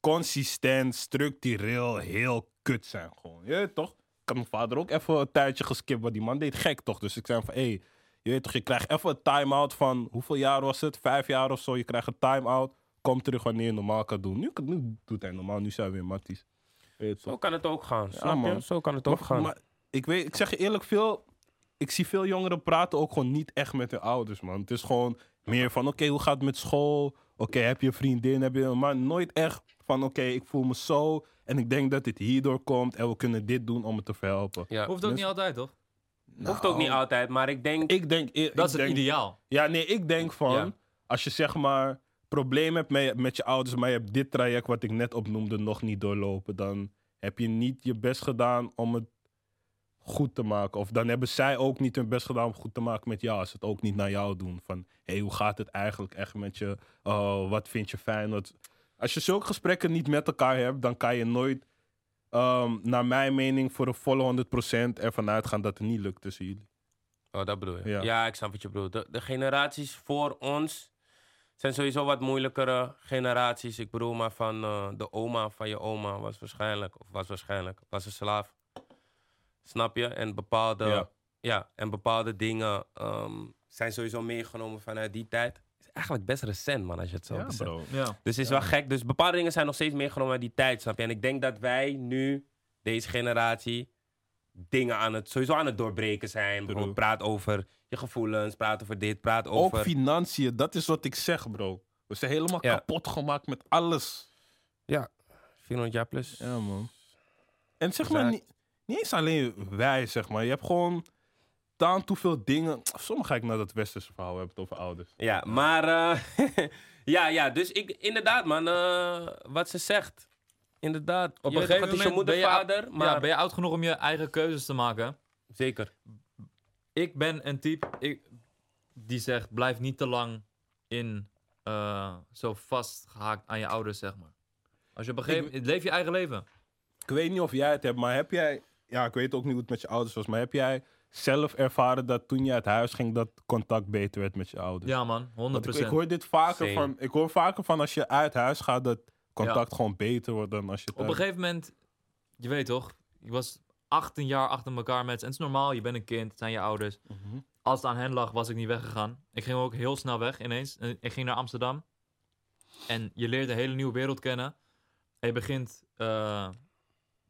B: consistent, structureel heel kut zijn. Gewoon. Je weet toch? Ik had mijn vader ook even een tijdje geskipt, want die man deed gek toch? Dus ik zei van, hé, hey, je weet toch, je krijgt even een time-out van, hoeveel jaar was het? Vijf jaar of zo, je krijgt een time-out. Kom terug wanneer je normaal kan doen. Nu, nu doet hij normaal, nu zijn we weer matties. Je weet toch?
A: Zo kan het ook gaan, snap je?
B: man.
A: Zo kan het ook
B: Maar-
A: gaan.
B: maar ik, weet, ik zeg je eerlijk, veel, ik zie veel jongeren praten ook gewoon niet echt met hun ouders, man. Het is gewoon meer van, oké, hoe gaat het met school? Oké, heb je een vriendin? Heb je een man? Nooit echt van, oké, ik voel me zo en ik denk dat dit hierdoor komt en we kunnen dit doen om het te verhelpen.
A: ja.
C: Hoeft ook
B: dus-
C: niet altijd, toch?
A: Hoeft ook niet altijd, maar ik denk...
B: Nou. Ik denk... Ik,
C: Dat
B: ik
C: is het
B: denk-
C: ideaal.
B: Ja, nee, ik denk van...
A: Ja.
B: Als je zeg maar probleem hebt met, met je ouders... maar je hebt dit traject wat ik net opnoemde nog niet doorlopen... dan heb je niet je best gedaan om het goed te maken. Of dan hebben zij ook niet hun best gedaan om het goed te maken met jou... als ze het ook niet naar jou doen. Van, hé, hoe gaat het eigenlijk echt met je? Oh, wat vind je fijn? Wat... Als je zulke gesprekken niet met elkaar hebt... dan kan je nooit, ehm, naar mijn mening... voor een volle 100% ervan uitgaan dat het niet lukt tussen jullie.
A: Oh, dat bedoel je. Ja,
B: Ja.
A: ik snap wat je bedoelt. De, de generaties voor ons zijn sowieso wat moeilijkere generaties. Ik bedoel maar van eh, de oma van je oma was waarschijnlijk, of was waarschijnlijk, was een slaaf. Snap je? En bepaalde, ja.
B: Ja.
A: en bepaalde dingen ehm, zijn sowieso meegenomen vanuit die tijd. is eigenlijk best recent, man, als je het zo
B: Ja,
A: beseft.
B: bro.
C: Ja.
A: Dus het is wel gek. Dus bepaalde dingen zijn nog steeds meegenomen uit die tijd, snap je? En ik denk dat wij nu, deze generatie, dingen aan het, sowieso aan het doorbreken zijn. Bijvoorbeeld praat over je gevoelens, praat over dit, praat
B: Ook
A: over...
B: financiën, dat is wat ik zeg, bro. We zijn helemaal
A: Ja.
B: kapot gemaakt met alles.
A: 400 jaar plus.
B: Ja, man. En zeg maar,
A: Zaak.
B: niet, niet eens alleen wij, zeg maar. Je hebt gewoon taan toe veel dingen. Soms ga ik naar dat westerse verhaal, we hebben het over ouders.
A: Ja, maar... eh, ja, ja, dus ik, inderdaad, man. eh, wat ze zegt. Inderdaad.
C: Op
A: Je
C: een
A: weet toch,
C: gegeven
A: het is
C: moment
A: je moeder,
C: ben je-
A: vader, maar...
C: ja, ben je oud genoeg om je eigen keuzes te maken?
A: Zeker.
C: ik ben een type ik, die zegt: blijf niet te lang in eh, zo vastgehaakt aan je ouders, zeg maar. Als je op een gegeven moment. Leef je eigen leven.
B: Ik weet niet of jij het hebt, maar heb jij... Ja, ik weet ook niet hoe het met je ouders was, maar heb jij zelf ervaren dat toen je uit huis ging, dat contact beter werd met je ouders?
C: Ja, man, 100%.
B: Dus- Want ik, ik hoor dit vaker
A: Same.
B: van... Ik hoor vaker van als je uit huis gaat, dat contact gewoon beter wordt dan als je
C: Op een
B: thuis-
C: gegeven moment, je weet toch, ik was 18 jaar achter elkaar met. En het is normaal, je bent een kind, het zijn je ouders.
B: Mhm.
C: Als het aan hen lag, was ik niet weggegaan. Ik ging ook heel snel weg ineens. En Ik ging naar Amsterdam. En je leert een hele nieuwe wereld kennen. En je begint eh,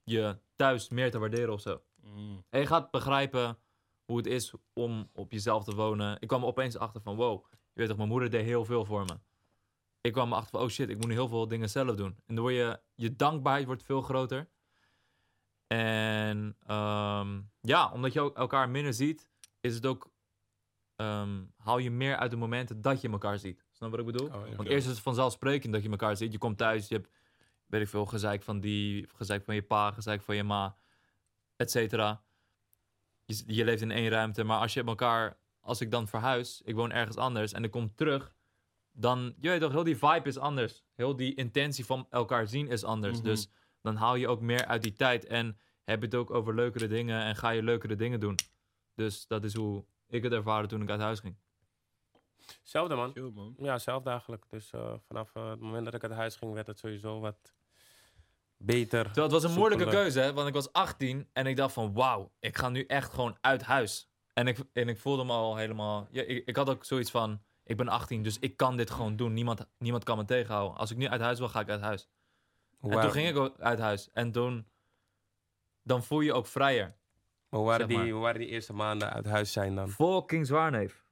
C: je thuis meer te waarderen of zo.
B: Mm.
C: En je gaat begrijpen hoe het is om op jezelf te wonen. Ik kwam er opeens achter van, wow, je weet toch, mijn moeder deed heel veel voor me. Ik kwam erachter van, oh shit, ik moet nu heel veel dingen zelf doen. En dan word je, je dankbaarheid wordt veel groter. En ehm, ja, omdat je ook elkaar minder ziet, is het ook, ehm, haal je meer uit de momenten dat je elkaar ziet. Snap je wat ik bedoel?
B: Oh, ja.
C: Want eerst is het vanzelfsprekend dat je elkaar ziet. Je komt thuis, je hebt, weet ik veel, gezeik van die, gezeik van je pa, gezeik van je ma, et cetera. Je, je leeft in één ruimte, maar als je elkaar, als ik dan verhuis, ik woon ergens anders en ik kom terug, dan, je weet toch, heel die vibe is anders. Heel die intentie van elkaar zien is anders.
B: Mhm.
C: Dus dan haal je ook meer uit die tijd en heb je het ook over leukere dingen en ga je leukere dingen doen. Dus dat is hoe ik het ervaren toen ik uit huis ging.
A: Hetzelfde, man.
B: Chill, man.
A: Ja, zelf dagelijk. Dus eh, vanaf eh, het moment dat ik uit huis ging, werd het sowieso wat beter.
C: Terwijl het was een moeilijke
A: Soepeler.
C: keuze, hè? want ik was 18 en ik dacht van wauw, ik ga nu echt gewoon uit huis. En ik, en ik voelde me al helemaal... Ja, ik, ik had ook zoiets van, ik ben 18, dus ik kan dit gewoon doen. Niemand, niemand kan me tegenhouden. Als ik nu uit huis wil, ga ik uit huis. En
A: Wauw.
C: toen ging ik ook uit huis. En toen... Dan voel je je ook vrijer.
A: Maar hoe waren,
C: Zeg
A: die,
C: maar.
A: hoe waren die eerste maanden uit huis zijn dan?
C: Fucking zwaarneef.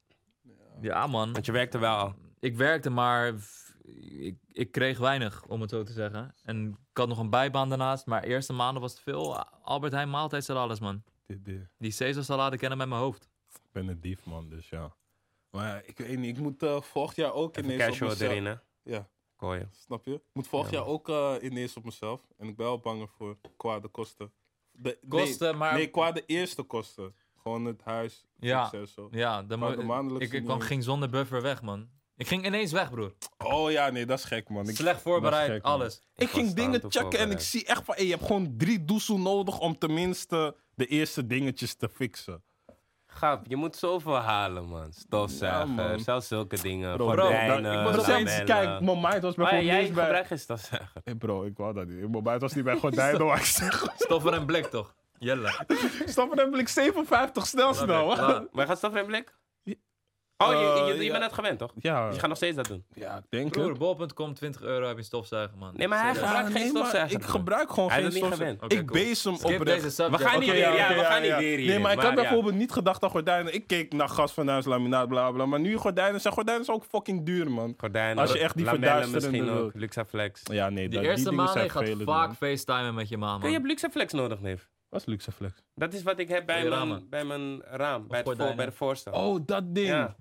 C: Ja, man.
A: Want je werkte wel al.
C: Ik werkte, maar f- ik, ik kreeg weinig, om het zo te zeggen. En ik had nog een bijbaan daarnaast, maar eerste maanden was het veel Albert Heijn maaltijdsalades, man.
B: Dit, dit.
C: Die Caesarsalade kennen met mijn hoofd.
B: Ik ben een dief, man, dus ja. Maar ja, ik weet niet, ik moet eh, volgend jaar ook
A: Even
B: ineens op
A: casual
B: mezelf...
A: erin, hè?
B: Ja.
A: Kooi je.
B: Snap je? Ik moet volgend
A: Ja,
B: jaar ook eh, ineens op mezelf. En ik ben wel bang voor qua de kosten. De, nee,
C: Kosten, maar...
B: Nee, qua de eerste kosten. Gewoon het huis,
C: Ja.
B: ja. zo.
C: Ja, dan
B: Maar
C: moet-
B: de maandelijkse
C: ik, ik kwam,
B: niet.
C: ging zonder buffer weg, man. Ik ging ineens weg, broer.
B: Oh ja, nee, dat is gek, man. Ik,
C: Slecht voorbereid,
B: dat is gek, man.
C: alles.
B: ik ging
A: was
B: dingen
A: aan toe
B: checken en ik
A: voorbereid.
B: zie echt van... Hey, je hebt gewoon drie doezel nodig om tenminste de eerste dingetjes te fixen.
A: Gap, je moet zoveel halen, man. Stofzuiger,
B: Ja, man.
A: zelfs zulke dingen.
B: Bro,
C: bro,
A: Gordijnen,
B: dan- Nou, ik was steeds...
A: lamellen.
B: Kijk, mijn mind was
A: Maar ja,
B: bijvoorbeeld
A: jij
B: niet eens bij...
A: gebruikt geen stofzuiger.
B: Hey, bro, ik wou dat niet. Mijn mind was niet bij gordijnen, wou ik zeggen.
C: Stoffer en blik, toch? Jelle.
B: Snap je? Dan ben ik 57 snel, snel.
C: Ja,
A: Oh, Maar gaat stofzuiger in blik? Oh, je, je, je
B: Eh, ja.
A: bent het gewend, toch?
B: Ja,
A: Je gaat nog steeds dat doen.
B: ja ik denk
C: Broer,
B: het.
C: bol.com, 20 euro heb je stofzuiger, man.
A: Nee, maar hij
C: Serieus.
A: gaat- gebruik geen
B: Ah, maar
A: stofzuiger,
B: Ik
A: man.
B: gebruik gewoon
A: Hij
B: geen
A: is er niet
B: stofzuiger.
A: gewend.
C: Oké,
B: ik
C: cool.
B: bees hem
C: Skip deze
B: oprecht.
C: subject.
A: We gaan niet
C: Oké,
A: weer, ja.
C: ja.
A: we gaan niet weer hierin,
B: Nee, maar ik
A: maar
B: had
A: ja.
B: bijvoorbeeld niet gedacht aan gordijnen. Ik keek naar gas van huis, laminaat, bla bla. Maar nu gordijnen zijn gordijnen zijn ook fucking duur, man.
A: Gordijnen,
B: Als je echt die
A: lamellen
B: verduisterende
A: misschien
B: wil.
A: ook, Luxaflex.
B: Ja, nee,
C: Die
B: dat, die
C: eerste
B: dingen
C: maand
B: zijn
C: gaat
B: vervelend,
C: vaak
B: man.
C: facetimen met je ma,
A: Kun je
C: man.
A: hebt Luxaflex nodig, neef.
B: Dat is luxe flex.
A: Dat is wat ik heb bij,
C: Voor je
A: mijn,
C: ramen.
A: bij mijn raam, bij, het voor,
C: gordijnen.
A: bij de voorstel.
B: Oh, dat ding.
A: Ja.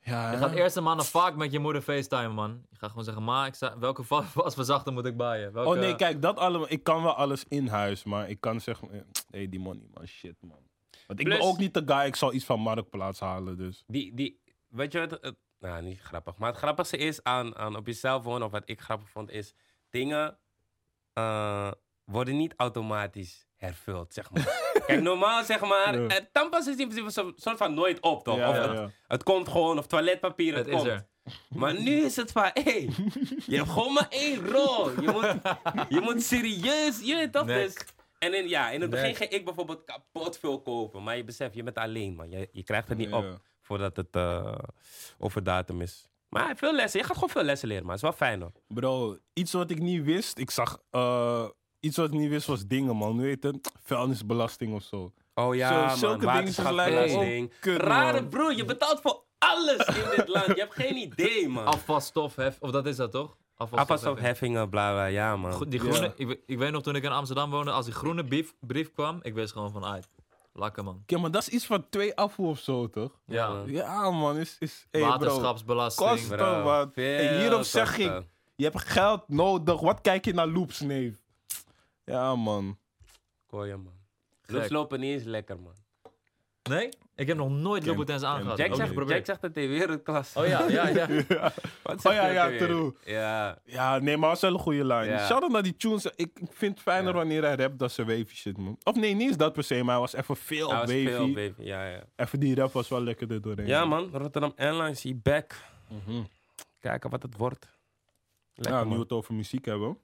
B: Ja. ja.
C: Je gaat eerst een maand vaak met je moeder facetimen, man. Je gaat gewoon zeggen, ma, ik sta, welke va- wasverzachter moet ik baaien? Welke...
B: Oh nee, kijk, dat allemaal. Ik kan wel alles in huis, maar ik kan zeggen, hé, hey, die money, man, shit, man. Want ik ben
A: Plus-
B: ook niet de guy, ik zal iets van Marktplaats halen, dus.
A: Die, die, weet je wat? het- nou, niet grappig. Maar het grappigste is aan, aan op jezelf wonen, of wat ik grappig vond, is dingen eh, worden niet automatisch hervuld, zeg maar. Kijk, normaal zeg maar,
B: Ja.
A: eh, tandpasta is in principe zo- soort van nooit op, toch?
B: Ja,
A: of
B: ja,
A: Het,
B: ja.
A: het komt gewoon, of toiletpapier, het,
C: Het is
A: komt.
C: er.
A: Maar nu is het van, hé, hey, je hebt gewoon maar één rol. Je moet, je moet serieus, je weet toch?
C: Next.
A: Dus, en in, ja, in het begin
C: Next.
A: ging ik bijvoorbeeld kapot veel kopen. Maar je beseft, je bent alleen, man. Je, je krijgt het niet op
B: Ja.
A: voordat het eh over datum is. Maar veel lessen. Je gaat gewoon veel lessen leren, maar het is wel fijn hoor.
B: Bro, iets wat ik niet wist, ik zag, eh, iets wat ik niet wist was dingen, man. Hoe heet het? Vuilnisbelasting of zo.
A: Oh
B: Zo,
A: ja, man.
B: zulke dingen zijn
C: lijken
A: Waterschapsbelasting.
B: ook kut, man.
A: Oh, Rare broer, je betaalt voor alles in dit land. Je hebt geen idee, man.
C: Afvalstof, hef... of dat is dat toch? Afvalstof.
A: Afvalstopheffingen, bla bla, ja man.
C: Goed, Die
B: Ja.
C: groene, ik, we- ik weet nog toen ik in Amsterdam woonde, als die groene brief, brief kwam, ik wist gewoon van, uit. Lakker man.
B: Ja, maar dat is iets van twee afvoer of zo, toch?
A: Ja,
C: Ja.
A: man.
B: Ja, man, is. is hey, bro,
C: Waterschapsbelasting.
B: kosten,
A: Bro,
B: man.
A: veel
B: En hierop zeg
A: kosten.
B: ik: je hebt geld nodig. Wat kijk je naar loops, neef? Ja, man.
A: Kooi, man.
C: Gek.
A: Loops lopen niet eens lekker, man.
C: Nee? Ik heb nog nooit
B: Ken-
C: Louboutins
B: ken-
C: aangehad.
B: Jack
A: Jack
C: Ook
A: zegt,
C: niet
A: Jack
C: geprobeerd.
A: zegt dat hij wereldklas.
C: Oh ja, ja, ja.
A: Wat
B: Oh
A: zegt
B: ja,
A: hij ook
B: ja,
A: alweer?
B: true.
A: Ja.
B: Ja, nee, maar het is wel een goede line.
A: Ja.
B: Shout-out naar die tunes. Ik ik vind het fijner
A: Ja.
B: wanneer hij rapt dan zijn wavy shit, man. Of nee, niet eens dat per se, maar hij was even veel op
A: Hij was
B: wavy.
A: veel op wavy, Ja, ja.
B: Even die rap was wel lekker er doorheen.
A: Ja, man. Rotterdam Airlines, he back.
B: Mhm.
A: Kijken wat het wordt. Lekker,
B: Ja, nu
A: man.
B: we het over muziek hebben.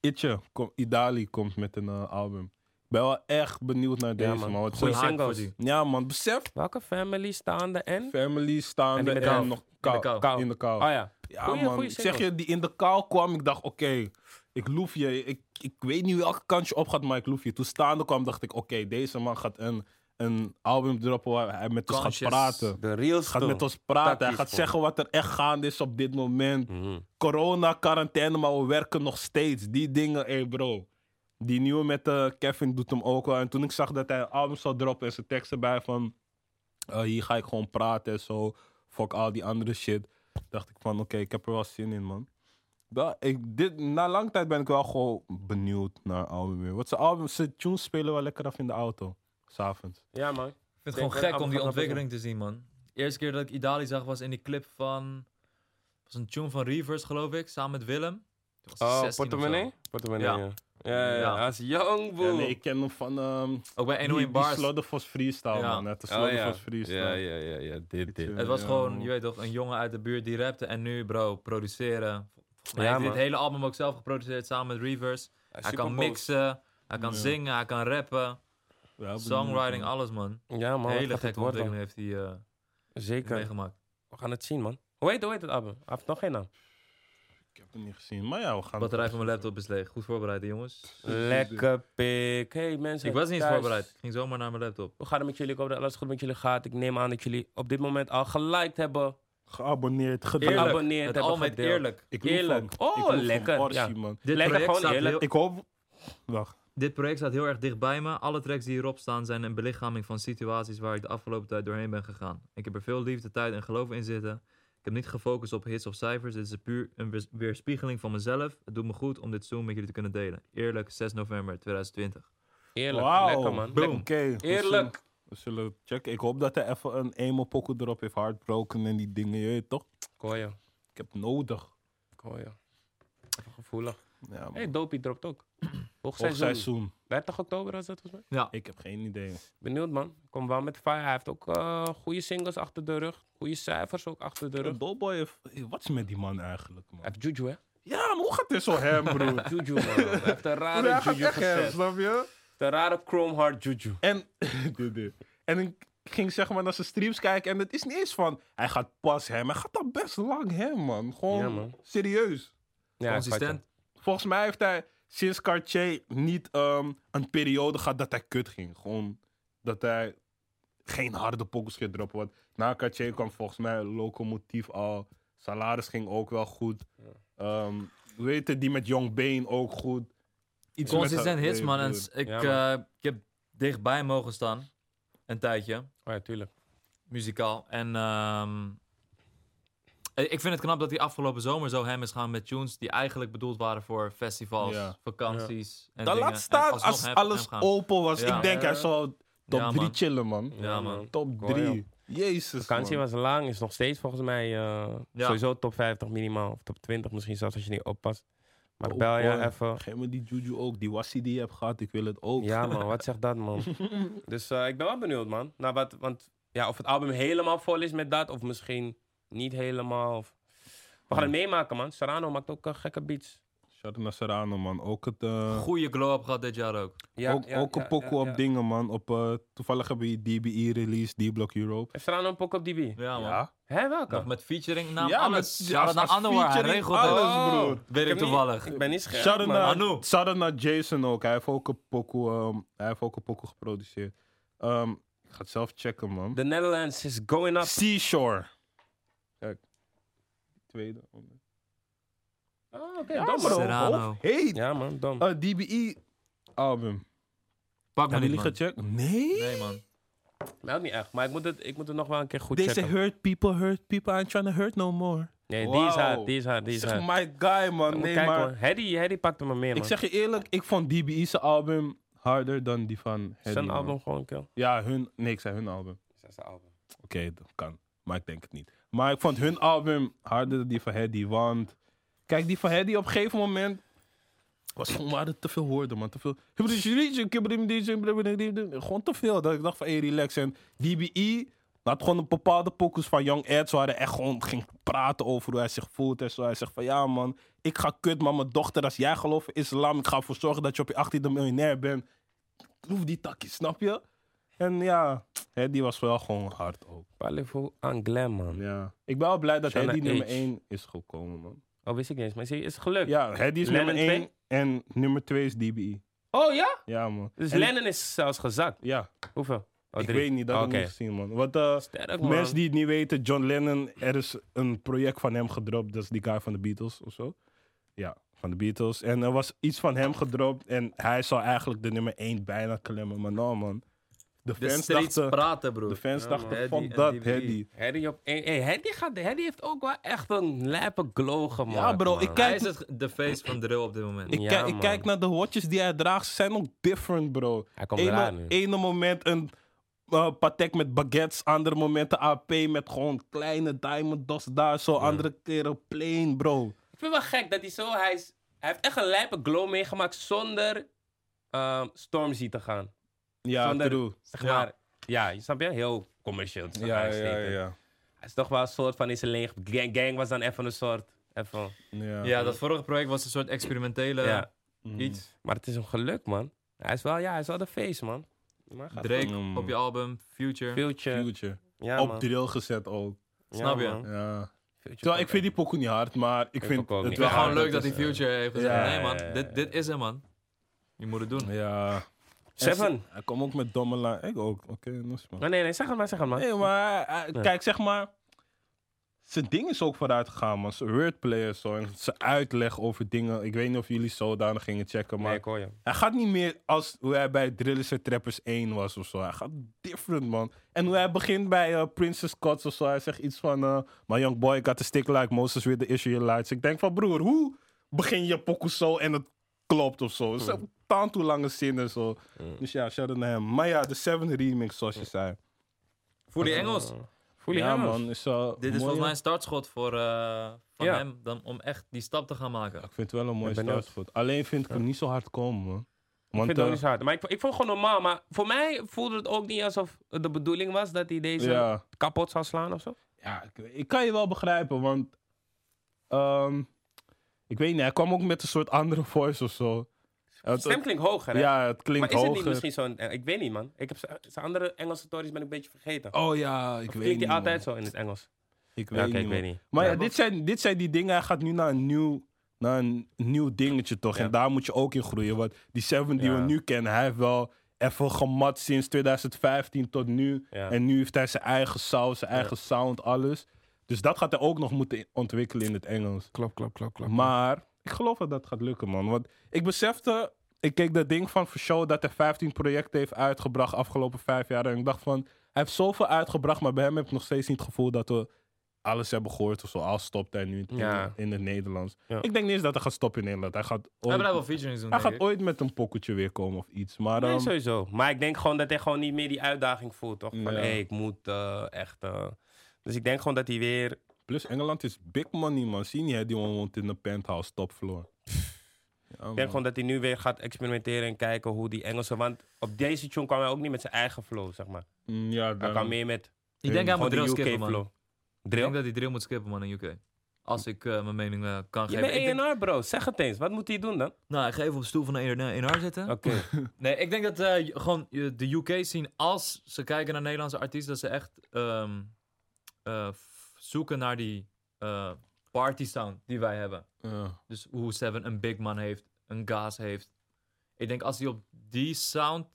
B: Itje, kom, Idali komt met een eh, album. Ik ben wel echt benieuwd naar deze,
A: man.
B: man. Want
A: Goeie
B: zo-
C: Hype
A: singles.
C: voor die.
B: Ja, man, besef.
A: Welke family staande en?
B: Family staan
A: En die
B: en,
A: met kou.
B: nog
C: de
B: kou.
C: kou.
A: Kou.
B: In de kou.
A: Oh ja.
B: Ja,
A: Goeie-
B: man.
A: goeie
B: ik zeg
A: singles.
B: je, die in de kou kwam, ik dacht, oké, ik loef je. Ik, ik weet niet welke kant je op gaat, maar ik loef je. Toen staande kwam, dacht ik, oké, deze man gaat een, een album droppen waar hij met ons gaat
C: Conscious.
B: praten.
A: De reels
B: Gaat met ons praten.
A: Tactisch
B: Hij gaat
A: gewoon.
B: zeggen wat er echt gaande is op dit moment.
A: Mhm.
B: Corona, quarantaine, maar we werken nog steeds. Die dingen, hé bro. Die nieuwe met eh, Kevin doet hem ook wel. En toen ik zag dat hij een album zou droppen en zijn tekst erbij van... eh, hier ga ik gewoon praten en zo. Fuck al die andere shit. Dacht ik van, oké, ik heb er wel zin in, man. Da- ik, dit, na lang tijd ben ik wel gewoon benieuwd naar het album weer. Want zijn album, zijn tunes spelen wel lekker af in de auto. S'avonds.
A: Ja, man.
C: Ik
A: Denk dat
C: vind het gewoon gek
A: Abel
C: om die
A: gaat dat
C: ontwikkeling te zien, man. De eerste keer dat ik Idali zag was in die clip van... was een tune van Reverse, geloof ik, samen met Willem. Toen was hij
A: Oh,
C: 16 of zo.
A: portemonnee? Portemonnee, ja.
C: Ja.
A: Ja, ja, ja.
C: Ja.
A: Als young boy.
B: Ja, nee, ik ken hem van ehm
C: Ook bij
B: die,
C: 101
B: die
C: Bars.
B: Slaughterforce Freestyle,
C: Ja.
B: man. Het is
A: Oh,
B: Slaughterforce
A: ja.
B: Freestyle.
A: ja, ja, ja, ja. Dit, dit.
C: Het was
B: Ja,
C: gewoon,
B: man.
C: je weet toch, een jongen uit de buurt die rapte. En nu, bro, produceren. Volgens mij
A: Ja,
C: heeft hij
A: man.
C: dit hele album ook zelf geproduceerd samen met Reverse. Hij kan mixen, hij kan
B: Ja.
C: zingen, hij kan rappen.
B: Ja, benieuwd,
C: Songwriting,
B: man.
C: alles, man.
A: Ja, man.
C: hele
A: Hele gek
C: gekke
A: worden. eh,
C: ontwikkeling heeft hij eh,
A: Zeker.
C: meegemaakt.
A: We gaan het zien, man. Hoe heet, hoe heet het album? Hij heeft nog geen naam.
B: Ik heb het niet gezien, maar ja, we
C: De
B: gaan...
C: batterij van mijn laptop is leeg. Goed voorbereid, hè, jongens.
A: Lekker pik. Hey mensen.
C: Ik was niet eens
A: thuis.
C: voorbereid. Ik ging zomaar naar mijn laptop.
A: We gaan het met jullie. Ik hoop dat alles goed met jullie gaat. Ik neem aan dat jullie op dit moment al geliked hebben.
B: Geabonneerd, gedeeld.
C: Eerlijk.
A: Geabonneerd
C: Het
A: hebben.
C: al met
A: gedeeld.
C: eerlijk.
B: Ik
A: Eerlijk.
B: Van,
A: Oh,
B: ik loef van
A: lekker,
B: Orsi,
A: ja.
B: man.
C: Dit
A: Lekker
C: project,
A: gewoon
C: staat
A: eerlijk.
C: heel,
B: Ik hoop... Wacht.
C: dit project staat heel erg dicht bij me. Alle tracks die hierop staan zijn een belichaming van situaties waar ik de afgelopen tijd doorheen ben gegaan. Ik heb er veel liefde, tijd en geloof in zitten. Ik heb niet gefocust op hits of cijfers. Dit is puur een weers- weerspiegeling van mezelf. Het doet me goed om dit zo met jullie te kunnen delen. Eerlijk, 6 november 2020.
A: Eerlijk.
B: Wauw.
A: Lekker, man.
C: Boom.
A: Lekker.
B: Oké, we zullen-
A: Eerlijk.
B: We zullen checken. Ik hoop dat hij even een emo pokoe erop heeft. Heartbroken en die dingen, je weet toch?
A: Kooien.
B: Ik heb het nodig.
A: Kooien. Even gevoelig.
B: Ja, man.
A: hey, Dopey dropt ook.
B: Hoog
A: Hoogseizoen.
B: seizoen.
A: 30 oktober was dat volgens mij.
B: Ik heb geen idee.
A: Benieuwd man. Kom wel met fire. Hij heeft ook eh, goede singles achter de rug. Goede cijfers ook achter de rug.
B: Dolboy heeft... hey, Wat is met die man eigenlijk,
A: Hij
B: man?
A: heeft juju hè.
B: Ja, maar hoe gaat dit zo hem, broer?
A: Juju man. Hij heeft een
B: Broer,
A: rare
B: Hij gaat
A: juju
B: echt hem,
A: gezet.
B: snap je?
A: De rare chrome hard juju.
B: En, dit, dit. en ik ging zeg maar naar zijn streams kijken. En het is niet eens van, hij gaat pas hem. Hij gaat al best lang hem, man. Gewoon
A: Ja, man.
B: serieus.
A: Ja,
C: Consistent.
B: Volgens mij heeft hij sinds Cartier niet ehm, een periode gehad dat hij kut ging. Gewoon dat hij geen harde pokkels ging droppen. Want na Cartier kwam volgens mij Locomotief al. Salaris ging ook wel goed. Ehm, hoe heet het, die met Young Bane ook goed. Iets met
C: Consistent
B: haar-
C: hits, man. En s-
B: broer.
C: ik,
A: Ja, man.
C: eh, ik heb dichtbij mogen staan. Een tijdje.
A: Oh ja, tuurlijk.
C: muzikaal. En ehm, eh, ik vind het knap dat hij afgelopen zomer zo hem is gaan met tunes die eigenlijk bedoeld waren voor festivals,
B: Ja.
C: vakanties.
B: Dan
C: En dingen.
B: laat
C: En
B: staan
C: alsnog
B: als
C: hem-
B: alles
C: hem gaan.
B: open was.
C: Ja.
B: Ik denk, hij zou top
C: Ja,
B: 3
C: man.
B: chillen, man.
C: Ja, man.
B: Top
A: Goeie.
B: 3. Jezus,
A: Vakantie
B: man.
A: was lang, is nog steeds volgens mij eh,
C: Ja.
A: sowieso top 50 minimaal. Of top 20 misschien zelfs als je niet oppast. Maar
B: Oh,
A: bel je
B: boy.
A: even.
B: Geef me die Juju ook. Die wassie die je hebt gehad, ik wil het ook.
A: Ja man, wat zegt dat man? dus eh, ik ben wel benieuwd man. Nou, wat, want ja, of het album helemaal vol is met dat, of misschien niet helemaal. Of... We gaan het meemaken man. Serrano maakt ook eh, gekke beats.
B: Shout out naar Serrano, man. Ook, het, eh,
C: Goeie glow-up gehad dit jaar ook.
A: Ja,
B: ook,
A: ja,
B: ook een
A: ja,
B: pokoe
A: ja,
B: op
A: ja.
B: dingen, man. Op, eh, toevallig hebben we die DBE-release, D-Block Europe.
A: Heeft Serrano een pokoe op DB?
C: Ja, man.
A: Hé, welke?
C: Nog met featuring
A: Nou,
C: naam
B: Ja,
C: alles.
B: met-
C: Ja,
B: als-
C: dat naar
B: als
C: Anwar. Hij
B: featuring
C: regelt
B: alles,
C: het.
B: broer.
C: Weet ik
A: heb niet-
C: toevallig.
A: Ik ben niet scherp
B: Shout out
A: Oh. man.
B: naar,
C: Anu.
B: shout out naar Jason ook. Hij heeft ook een pokoe, ehm, hij heeft ook een pokoe geproduceerd. Ehm, ik ga het zelf checken, man.
A: The Netherlands is going up.
B: Seashore. Kijk. Tweede.
A: Ah, oké, dom
C: bro.
A: man.
C: Serrano.
B: Of heet.
A: Ja man, dom.
B: Eh, DBE album.
C: Pak me
B: Hebben
C: niet,
B: jullie
C: man.
B: gecheckt? Nee.
C: Nee, man.
A: Nou, ook niet echt. Maar ik moet het, ik moet het nog wel een keer goed
B: Deze
A: checken.
B: hurt people, hurt people. I'm trying to hurt no more.
A: Nee, die is hard,
B: Wow.
A: die is hard, die is
B: Zeg
A: hard.
B: my guy, man.
A: Moet
B: Nee,
A: kijken,
B: maar
A: hoor. Hedy, Hedy pakt hem maar meer, man.
B: ik zeg je eerlijk, ik vond DBE's album harder dan die van Harry.
A: Zijn
B: man.
A: album gewoon kill.
B: Ja, hun. Nee, ik zei hun album.
A: Zijn album.
B: Oké, dat kan. Maar ik denk het niet. Maar ik vond hun album harder dan die van Hedy. Want kijk, die van Hedy op een gegeven moment was gewoon waren te veel woorden, man. Te veel. Gewoon te veel. Dat ik dacht van, hey, relax. En DBE had gewoon een bepaalde pokus van Young Eds. Waar hij echt gewoon ging praten over hoe hij zich voelt en zo. Hij zegt van, ja man, ik ga kut, maar mijn dochter, als jij gelooft in islam, ik ga ervoor zorgen dat je op je 18e miljonair bent. Proef die takkie, snap je? En ja, Hedy was wel gewoon hard ook.
A: Parlez-vous anglais, man.
B: Ja. Ik ben wel blij dat
A: Shanna
B: Hedy nummer
A: H.
B: 1 is gekomen, man.
A: Oh, wist ik niet eens. Maar zie je, is het gelukt.
B: Ja, Hedy is
A: Lennon
B: nummer 1
A: twee?
B: en nummer 2 is DBE.
A: Oh ja?
B: Ja, man.
A: Dus
B: En-
A: Lennon is zelfs gezakt.
B: Ja,
A: Hoeveel? Oh,
B: ik
A: drie.
B: weet niet, dat heb
A: Oké.
B: ik niet gezien, man. Want eh,
A: Sterk, man.
B: mensen die het niet weten, John Lennon, er is een project van hem gedropt. Dat is die guy van de Beatles of zo. Ja, van de Beatles. En er was iets van hem gedropt en hij zou eigenlijk de nummer 1 bijna klemmen. Maar nou, man. De
C: De
B: fans
C: streets
B: dachten,
C: praten,
B: de
C: broer.
B: fans
A: Ja, man.
B: dachten
C: Hedy
B: fuck
C: en
B: dat,
A: E."
C: DBE.
B: Hedy.
A: Hedy op één. Hey, Hedy, gaat, Hedy heeft ook wel echt een lijpe glow gemaakt,
B: Ja, bro,
A: man.
B: ik kijk-
C: Hij is het, de face van drill op dit moment.
B: Ik,
A: Ja,
B: kijk, ik
A: man.
B: kijk naar de watches die hij draagt, ze zijn ook different, bro.
A: Hij komt
B: Ene,
A: eraan nu.
B: ene moment een eh, Patek met baguettes, andere momenten AP met gewoon kleine diamond dust daar, zo andere keren plain, bro.
A: Ik vind het wel gek dat hij zo... Hij, is, hij heeft echt een lijpe glow meegemaakt zonder ehm, Stormzy te gaan.
B: Ja,
A: Zonder-
B: true.
A: Zeg
C: Ja.
A: maar... Ja, je snap je? Heel commercieel. te
B: Ja,
A: gaan
B: ja,
A: steken.
B: ja.
A: Hij is toch wel een soort van in zijn leeg. Gang, gang was dan even een soort... Even,
B: Ja,
C: Ja, dat vorige project was een soort experimentele
A: ja.
B: Mm.
C: iets.
A: Maar het is een geluk, man. Hij is wel, ja, hij is wel de face, man. Maar gaat
C: Drake
B: Mm.
C: op je album, Future.
A: Future.
B: Future.
A: Ja,
B: Op
A: man.
B: drill gezet ook.
A: Ja,
C: Snap je?
A: man.
B: Ja.
A: Future
B: Terwijl ik
A: komt
B: vind die pokoe niet hard, maar ik, vind
A: ook wel
B: het
A: niet.
C: Het is wel
A: Ja, eh,
C: gewoon leuk dat
B: is-
C: hij Future heeft gezegd.
B: Ja,
C: nee man,
A: ja, ja, ja.
C: Dit, dit is hem man. Je moet het doen.
B: Ja.
A: Seven.
B: En ze- Hij komt ook met domme lijn. Ik ook. Oké, dat is
A: uit.
B: maar.
A: Maar nee, nee, zeg het maar, zeg het maar.
B: Nee, maar eh, eh,
A: Ja.
B: kijk, zeg maar. Zijn ding is ook vooruit gegaan, man. Zijn wordplay en zo. En zijn uitleg over dingen. Ik weet niet of jullie zodanig gingen checken, maar...
A: Nee, ik hoor je.
B: Hij gaat niet meer als hoe hij bij Drillers en Trappers 1 was of zo. Hij gaat different, man. En hoe hij begint bij eh, Princess Cuts of zo. Hij zegt iets van... eh My young boy got a stick like Moses with the Israelites. Ik denk van, broer, hoe begin je pokoe zo en het klopt of zo? Het is een taan toe lange zin en zo.
A: Mm.
B: Dus ja, shout-out naar hem. Maar ja, de Seven remix, zoals je zei.
C: Voor die Engels.
A: Mm. Voel je
B: ja,
A: hem,
B: man. Is, eh,
C: Dit is
B: mooie-
C: volgens mij een startschot voor eh, van
A: Ja.
C: hem dan om echt die stap te gaan maken.
B: Ik vind het wel een mooie
A: Ik ben benieuwd.
B: startschot. Alleen vind ik hem niet zo hard komen, man. Want,
A: Ik vind het ook
B: eh,
A: niet zo hard. Maar ik, ik vond het gewoon normaal. Maar voor mij voelde het ook niet alsof het de bedoeling was dat hij deze
B: Ja.
A: kapot zou slaan of zo.
B: ja, ik, ik kan je wel begrijpen, want... ehm, ik weet niet, hij kwam ook met een soort andere voice of zo. Het-
A: Stem klinkt hoger, hè?
B: ja, het
A: maar
B: klinkt
A: is het niet
B: hoger.
A: misschien zo'n... eh, Ik weet niet, man. Ik heb z- zijn andere Engelse stories ben ik een beetje vergeten.
B: Oh ja, ik
A: Of
B: weet
A: klinkt
B: niet,
A: hij altijd
B: man.
A: zo in het Engels?
B: Ik
A: Ja,
B: weet,
A: oké,
B: niet,
A: ik
B: man.
A: weet niet.
B: Maar ja,
A: Ja,
B: dit, zijn, dit zijn die dingen. Hij gaat nu naar een nieuw, naar een nieuw dingetje toch.
A: Ja.
B: En daar moet je ook in groeien. Want die Seven die
A: Ja.
B: we nu kennen, hij heeft wel even gemat sinds 2015 tot nu.
A: Ja.
B: En nu heeft hij zijn eigen saus, zijn eigen sound, alles. Dus dat gaat hij ook nog moeten in- ontwikkelen in het Engels.
A: Klopt, klopt, klopt, klopt.
B: Maar ik geloof dat dat gaat lukken, man. Want ik besefte, ik keek dat ding van Show dat hij 15 projecten heeft uitgebracht afgelopen vijf jaar. En ik dacht van, hij heeft zoveel uitgebracht, maar bij hem heb ik nog steeds niet het gevoel dat we alles hebben gehoord of zo. Al stopt hij nu in,
A: Ja.
B: in het Nederlands.
A: Ja.
B: Ik denk niet eens dat hij gaat stoppen in Nederland. Hij gaat
C: We hebben
B: ooit,
C: daar wel featurings doen,
B: hij
C: denk
B: gaat
C: ik.
B: ooit met een pocketje weer komen of iets. Maar
A: Nee,
B: ehm,
A: sowieso. Maar ik denk gewoon dat hij gewoon niet meer die uitdaging voelt, toch? Van,
B: Ja.
A: hé, ik moet eh, echt... eh, Dus ik denk gewoon dat hij weer...
B: plus Engeland is big money, man. Zie je niet, hè? die man woont in een penthouse, topfloor. Ja,
A: Ik
B: man.
A: denk gewoon dat hij nu weer gaat experimenteren en kijken hoe die Engelsen... Want op deze tune kwam hij ook niet met zijn eigen flow, zeg maar.
B: Mm, ja,
A: Hij
B: daarom.
A: kwam meer met
C: Ik denk hij
A: gewoon
C: moet
A: de
C: drill skippen,
A: UK
C: man.
A: flow.
C: Ik denk
A: Drill?
C: dat hij drill moet skippen, man, in UK. Als ik eh, mijn mening eh, kan
A: Je
C: geven. Ik denk-
A: bent ENR, bro. Zeg het eens. Wat moet hij doen dan?
C: nou, ik ga even op de stoel van een NR zitten.
A: Oké.
C: Nee, ik denk dat eh, j- gewoon eh, de UK zien als ze kijken naar Nederlandse artiesten, dat ze echt ehm, eh, f- zoeken naar die eh, party sound die wij hebben.
B: Ja.
C: Dus hoe Seven een big man heeft, een gas heeft. Ik denk als hij op die sound,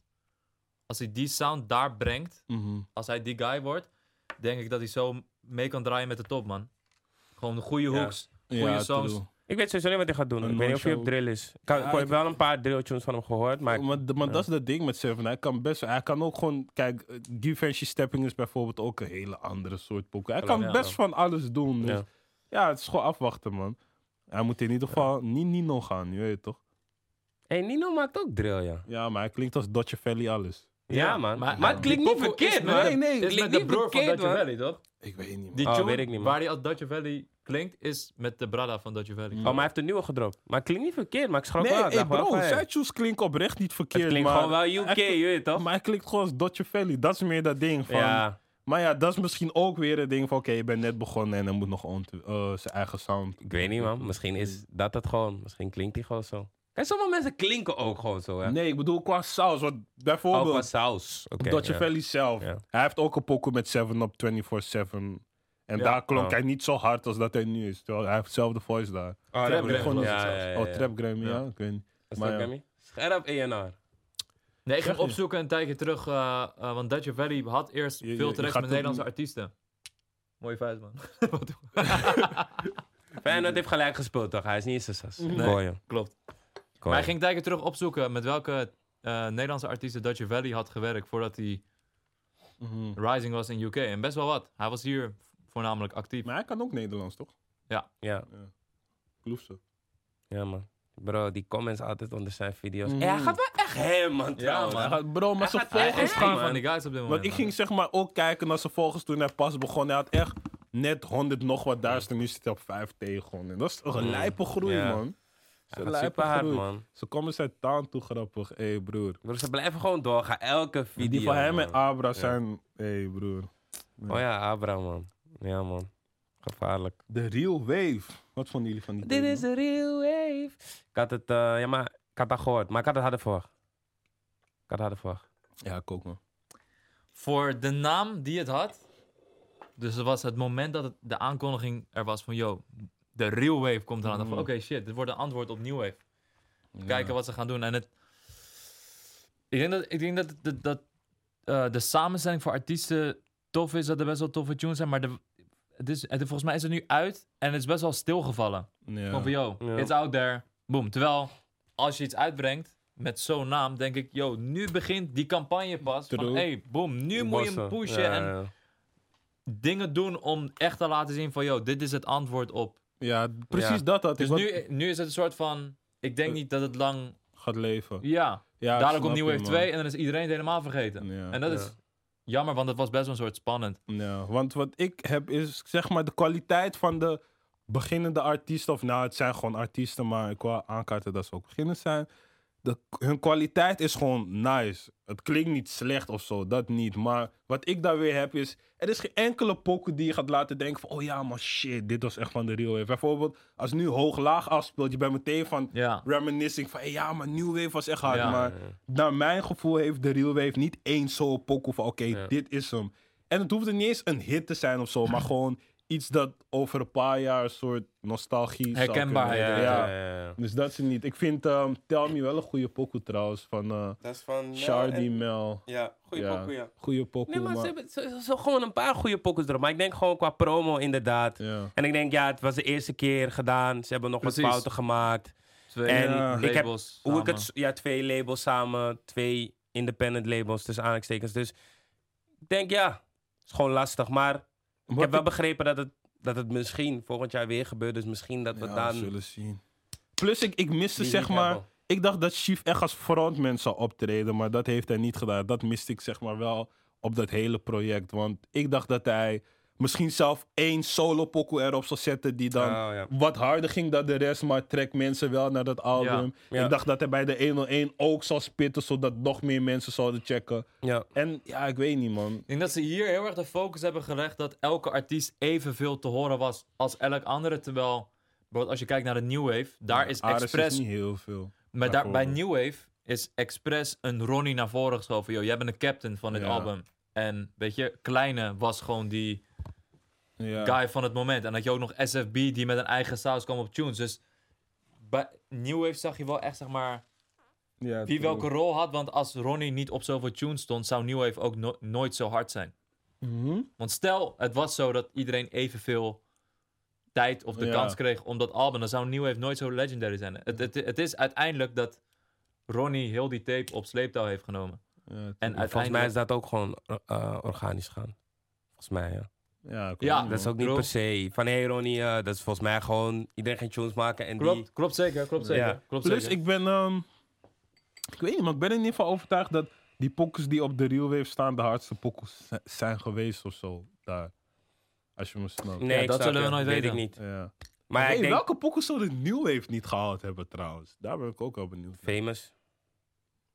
C: als hij die sound daar brengt,
B: Mhm.
C: als hij die guy wordt, denk ik dat hij zo mee kan draaien met de top, man. Gewoon de goede
A: Ja.
C: hooks, goede
B: Ja,
C: songs.
B: true.
A: Ik weet sowieso niet wat hij gaat doen.
B: Een
A: ik weet niet of hij op
B: no-show.
A: drill is. Ik, kan-
B: Ja,
A: ik heb
B: ik- Oh,
A: wel een paar drilltunes van hem gehoord, maar...
B: Maar, d- maar dat is het ding met Seven. Hij kan best, hij kan ook gewoon, kijk, eh, Givenchy Stepping is bijvoorbeeld ook een hele andere soort poker. Hij kan
C: Ja.
B: best van alles doen. Dus
A: Ja.
B: ja. het is gewoon afwachten, man. Hij moet in ieder geval niet Nino gaan, je weet het toch?
A: hey, Nino maakt ook drill, ja.
B: Ja, maar hij klinkt als Dodge Valley alles.
A: Ja, man. Maar,
C: maar-
A: het klinkt
C: die
A: niet
C: pokoe is
A: verkeerd,
C: met-
A: man.
B: Nee, nee,
A: Het
C: Dit is
A: klinkt
C: met de
A: niet
C: broer van
A: verkeerd,
C: Dutch
A: man.
C: Valley, toch?
B: Ik weet niet, man.
C: Die
A: Oh,
C: tune
A: weet ik niet, man.
C: waar hij als Dutch Valley klinkt, is met de brada van Dutch Valley.
A: Oh, maar hij heeft een nieuwe gedropt. Maar het klinkt niet verkeerd, maar ik schrok
B: Nee,
A: wel. Ik
B: hey,
A: dacht wel
B: bro,
A: van, hey,
B: zijn tunes klinken oprecht niet verkeerd,
A: het klinkt
B: maar,
A: gewoon wel UK,
B: hij,
A: je weet toch?
B: maar hij klinkt gewoon als Dodge Valley. Dat is meer dat ding van...
A: Ja,
B: Maar ja, dat is misschien ook weer het ding van, oké, je bent net begonnen en hij moet nog ont- eh, zijn eigen sound
A: ik weet niet, man. Misschien is dat het gewoon. Misschien klinkt hij gewoon zo. Kijk, sommige mensen klinken ook gewoon zo, hè.
B: Nee, ik bedoel qua saus. Want
A: Ook
B: bijvoorbeeld,
A: van saus. Oké,
B: Dodge
A: ja.
B: Valley zelf.
A: Ja.
B: Hij heeft ook een pokoe met 7 op 24-7. En
C: Ja.
B: daar klonk
A: Oh.
B: hij niet zo hard als dat hij nu is. Terwijl hij heeft dezelfde voice daar.
A: Oh,
C: Trap
A: dat
C: Grammy
A: bedoel ik.
B: was het
A: Ja,
B: zelfs.
A: ja, ja,
B: Oh,
A: ja.
B: Trap Grammy, ja.
C: Ja.
B: Ik weet niet.
A: Is
B: Maar
A: dat
B: ja.
A: Grammy? Scherp ENR.
C: Nee, ik ga
B: Zeg
C: hem
B: je.
C: opzoeken een tijdje terug, eh, eh, want Dutch Valley had eerst
B: Je- je-
C: veel
B: je
C: terecht
B: gaat
C: met
B: het
C: Nederlandse
B: doen.
C: artiesten. Mooie vuist, man.
A: Feyenoord heeft gelijk gespeeld, toch? Hij is niet eens een sas.
C: Nee.
A: Gooi hem.
C: Klopt.
A: Gooi
C: Maar
A: hem.
C: ik ging tijdje terug opzoeken met welke eh, Nederlandse artiesten Dutch Valley had gewerkt voordat hij
B: Mhm.
C: rising was in UK. En best wel wat. Hij was hier voornamelijk actief.
B: Maar hij kan ook Nederlands, toch?
A: Ja.
B: Kloef ze.
A: Ja, man. Bro, die comments altijd onder zijn video's.
B: Mm.
A: Ja, hij gaat wel echt hem, man. trouwens.
C: man.
B: Hij gaat- Bro, maar
A: Hij
B: zijn
A: gaat- hij-
C: Hij
B: volgers
C: is
A: hij-
B: gaan...
C: geen
A: man.
C: van die guys op dit moment.
B: Want ik
C: man.
B: ging zeg maar ook kijken naar zijn volgers toen hij pas begon. Hij had echt net 100 nog wat duizend. En nu zit hij op 5 tegen. 100. En dat is toch een
A: Mm.
B: lijpe groei,
A: Ja.
B: man.
A: Hij
B: Ze
A: gaat super hard, man.
B: Ze komen zijn taal toe grappig. Hé, hey, broer.
A: Bro, ze blijven gewoon doorgaan. Elke video.
B: Die van hem
A: man.
B: en Abra zijn. Hé hey broer.
A: Oh ja, Abra, man. Ja, man. Gevaarlijk.
B: De real wave. Wat vonden jullie van die
A: Dit
B: game,
A: is de real wave. Ik had het, eh, ja, maar ik had dat gehoord. Maar ik had het harder voor. Ik had het harder voor.
B: man? Ja, ik ook man.
C: Voor de naam die het had. Dus het was het moment dat het- de aankondiging er was van... Yo, de real wave komt eraan. Dan van,
B: Mm.
C: Oké, shit. Dit wordt een antwoord op new wave.
B: Ja.
C: kijken wat ze gaan doen. En het, ik denk dat, ik denk dat, dat, dat eh, de samenstelling voor artiesten tof is, dat er best wel toffe tunes zijn, maar de, het is, het, volgens mij is het nu uit en het is best wel stilgevallen.
B: Ja.
C: Gewoon van, yo,
A: Ja.
C: it's out there. Boom. Terwijl, als je iets uitbrengt met zo'n naam, denk ik, yo, nu begint die campagne pas. Van,
B: True.
C: hey, boom, nu moet je hem
A: Bossen.
C: pushen
A: Ja,
C: en
A: ja, ja.
C: dingen doen om echt te laten zien van, yo, dit is het antwoord op.
B: Ja, precies
A: Ja.
B: dat had
C: Dus
B: ik wat
C: nu, nu is het een soort van, ik denk niet dat het lang,
B: gaat leven.
C: ja...
B: Ja, ik
C: Dadelijk
B: snap
C: komt New
B: je,
C: Wave
B: man.
C: 2 en dan is iedereen het helemaal vergeten.
B: Ja.
C: en dat
A: ja.
C: is jammer, want het was best wel een soort spannend.
B: Ja, Nou, want wat ik heb is zeg maar de kwaliteit van de beginnende artiesten. Of nou, het zijn gewoon artiesten, maar ik wil aankaarten dat ze ook beginners zijn. De, hun kwaliteit is gewoon nice. Het klinkt niet slecht of zo, dat niet. Maar wat ik daar weer heb is, er is geen enkele pokoe die je gaat laten denken van... Oh ja, maar shit, dit was echt van de real wave. Bijvoorbeeld, als nu hoog-laag afspeelt, je bent meteen van...
C: Ja.
B: Reminiscing van, hey, ja, maar New Wave was echt hard.
C: Ja.
B: maar naar mijn gevoel heeft de Real Wave niet eens zo'n pokoe van oké,
A: Ja.
B: dit is hem. En het hoeft er niet eens een hit te zijn of zo, maar gewoon iets dat over een paar jaar een soort nostalgie zou
C: Herkenbaarheid,
B: kunnen-
A: Ja,
B: Ja,
A: ja, ja, ja.
B: Dus dat is het niet. Ik vind ehm, Tell Me wel een goede pokoe trouwens, van eh
A: Dat is van...
B: Shardy Mel.
A: Ja, goede
B: Ja.
A: pokoe, ja.
B: Goede pokoe,
A: Nee, maar ze
B: maar-
A: hebben zo, zo- zo gewoon een paar goede pokkers erop. Maar ik denk gewoon qua promo inderdaad.
B: Ja.
A: En ik denk, ja, het was de eerste keer gedaan. Ze hebben nog
C: Precies.
A: wat fouten gemaakt.
C: Dus twee
A: En
B: Ja.
A: ik heb-
C: labels
A: Hoe ik
C: samen.
A: het, s- ja, twee labels samen, twee independent labels tussen aanhalingstekens. Dus ik denk ja, is gewoon lastig. Maar ik
B: Wat
A: heb wel begrepen dat het, dat het misschien volgend jaar weer gebeurt. Dus misschien dat we
B: Ja,
A: dan.
B: we zullen zien. Plus, ik, ik miste
A: die
B: zeg
A: niet
B: maar.
A: hebben.
B: Ik dacht dat Chief echt als frontman zou optreden, maar dat heeft hij niet gedaan. Dat miste ik zeg maar wel op dat hele project. Want ik dacht dat hij misschien zelf één solo pokoe erop zou zetten die dan
C: Ah,
A: Oh, ja.
B: wat harder ging dan de rest, maar trekt mensen wel naar dat album.
A: Ja.
B: Ik dacht dat hij bij de 101 ook zou spitten, zodat nog meer mensen zouden checken.
A: Ja.
B: En ja, ik weet niet man.
C: Ik denk dat ze hier heel erg de focus hebben gelegd dat elke artiest evenveel te horen was als elk andere. Terwijl, bijvoorbeeld als je kijkt naar de New Wave, daar is
B: Ares
C: expres...
B: niet heel veel.
C: maar daar, bij
B: bijvoorbeeld.
C: New Wave is expres een Ronnie naar voren geschoven. Yo, jij bent de captain van dit
B: Ja.
C: album. En weet je, Kleine was gewoon die
B: Ja.
C: guy van het moment. En had je ook nog SFB die met een eigen saus kwam op tunes. Dus bij New Wave zag je wel echt, zeg maar...
B: Ja, true.
C: Wie welke rol had, want als Ronnie niet op zoveel tunes stond, zou New Wave ook no- nooit zo hard zijn.
B: Mhm.
C: Want stel, het was zo dat iedereen evenveel tijd of de
B: Ja.
C: kans kreeg om dat album, dan zou New Wave nooit zo legendary zijn. Het, het, het is uiteindelijk dat Ronnie heel die tape op sleeptouw heeft genomen.
B: Ja,
C: En
B: true.
A: Volgens mij
C: uiteindelijk...
A: is dat ook gewoon eh, organisch gaan. Volgens mij, ja.
B: ja, ik
C: Ja,
B: weet niet,
A: Dat is
B: man.
A: ook niet
C: Bro.
A: per se van hey Ronnie, eh, dat is volgens mij gewoon iedereen geen tunes maken en die.
C: Klopt, klopt zeker, klopt zeker.
A: Ja.
C: Klopt
B: Plus,
C: zeker.
B: ik ben. ehm, ik weet niet, maar ik ben in ieder geval overtuigd dat die pokkers die op de Real Wave staan, de hardste pokkers zi- zijn geweest of zo. Daar. Als je me snapt.
A: Nee,
C: Ja,
A: ik
C: dat
A: snap
C: zullen we
A: je.
C: nooit
A: Weet
C: weten.
A: ik niet.
B: Ja.
A: Maar
B: Hey,
A: ik denk
B: Welke pokkers zou de New Wave niet gehaald hebben trouwens? Daar ben ik ook wel benieuwd. naar.
A: famous.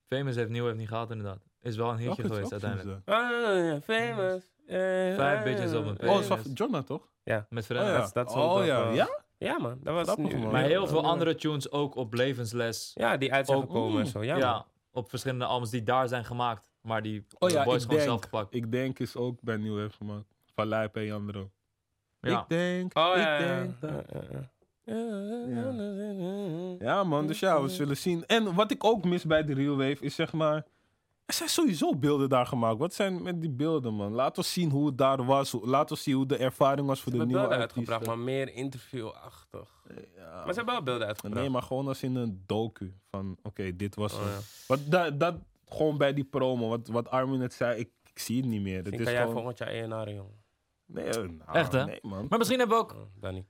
C: Famous heeft New Wave niet gehad inderdaad. Is wel een hitje
B: Welke
C: geweest
B: welke
C: uiteindelijk.
B: is
A: Ah, famous. Eh,
C: Vijf
A: ah,
C: bitches op een
A: eh,
B: dat? Oh, is
C: zo-
B: van Jonna toch?
C: Met
B: Oh
C: Verena.
B: ja.
A: dat- dat stond
B: oh,
A: ook,
B: ja.
A: eh,
B: ja?
A: Ja man, dat was
B: Grappig,
A: nu-
B: man.
C: Maar heel veel
A: Ja.
C: andere tunes ook op Levensles.
A: Ja, die uit zijn
C: Ook-
A: gekomen en zo. Ja,
C: Ja,
A: man.
C: op verschillende albums die daar zijn gemaakt. Maar die
B: Oh
C: de
B: ja,
C: boys
B: ik
C: gewoon
B: denk.
C: zelf gepakt.
B: Ik denk is ook bij New Wave gemaakt. Van Lijp en Jandro.
C: Ja.
B: Ik denk.
A: Oh
B: ik
A: ja, ja.
B: denk dat-
A: ja, ja, ja.
B: Ja, man, dus ja, we zullen zien. En wat ik ook mis bij de Real Wave is zeg maar. Er zijn sowieso beelden daar gemaakt. Wat zijn met die beelden, man? Laat ons zien hoe het daar was. Hoe- Laat ons zien hoe de ervaring was voor
A: Ze
B: de
A: hebben
B: nieuwe
A: beelden
B: artiesten.
A: uitgebracht, maar meer interviewachtig.
B: Ja.
A: Maar ze hebben wel beelden uitgebracht.
B: Nee, maar gewoon als in een docu. Van, oké, dit was
A: Oh,
B: hem.
A: ja.
B: Wat da- dat gewoon bij die promo. Wat, wat Armin net zei, ik, ik zie het niet meer. Het
A: Ik
B: is
A: kan jij
B: gewoon...
A: volgend jaar ENR, jongen.
B: Nee, eh, nou,
C: Echt, hè?
B: Nee, man.
C: Maar misschien hebben we ook
A: Oh, Danny.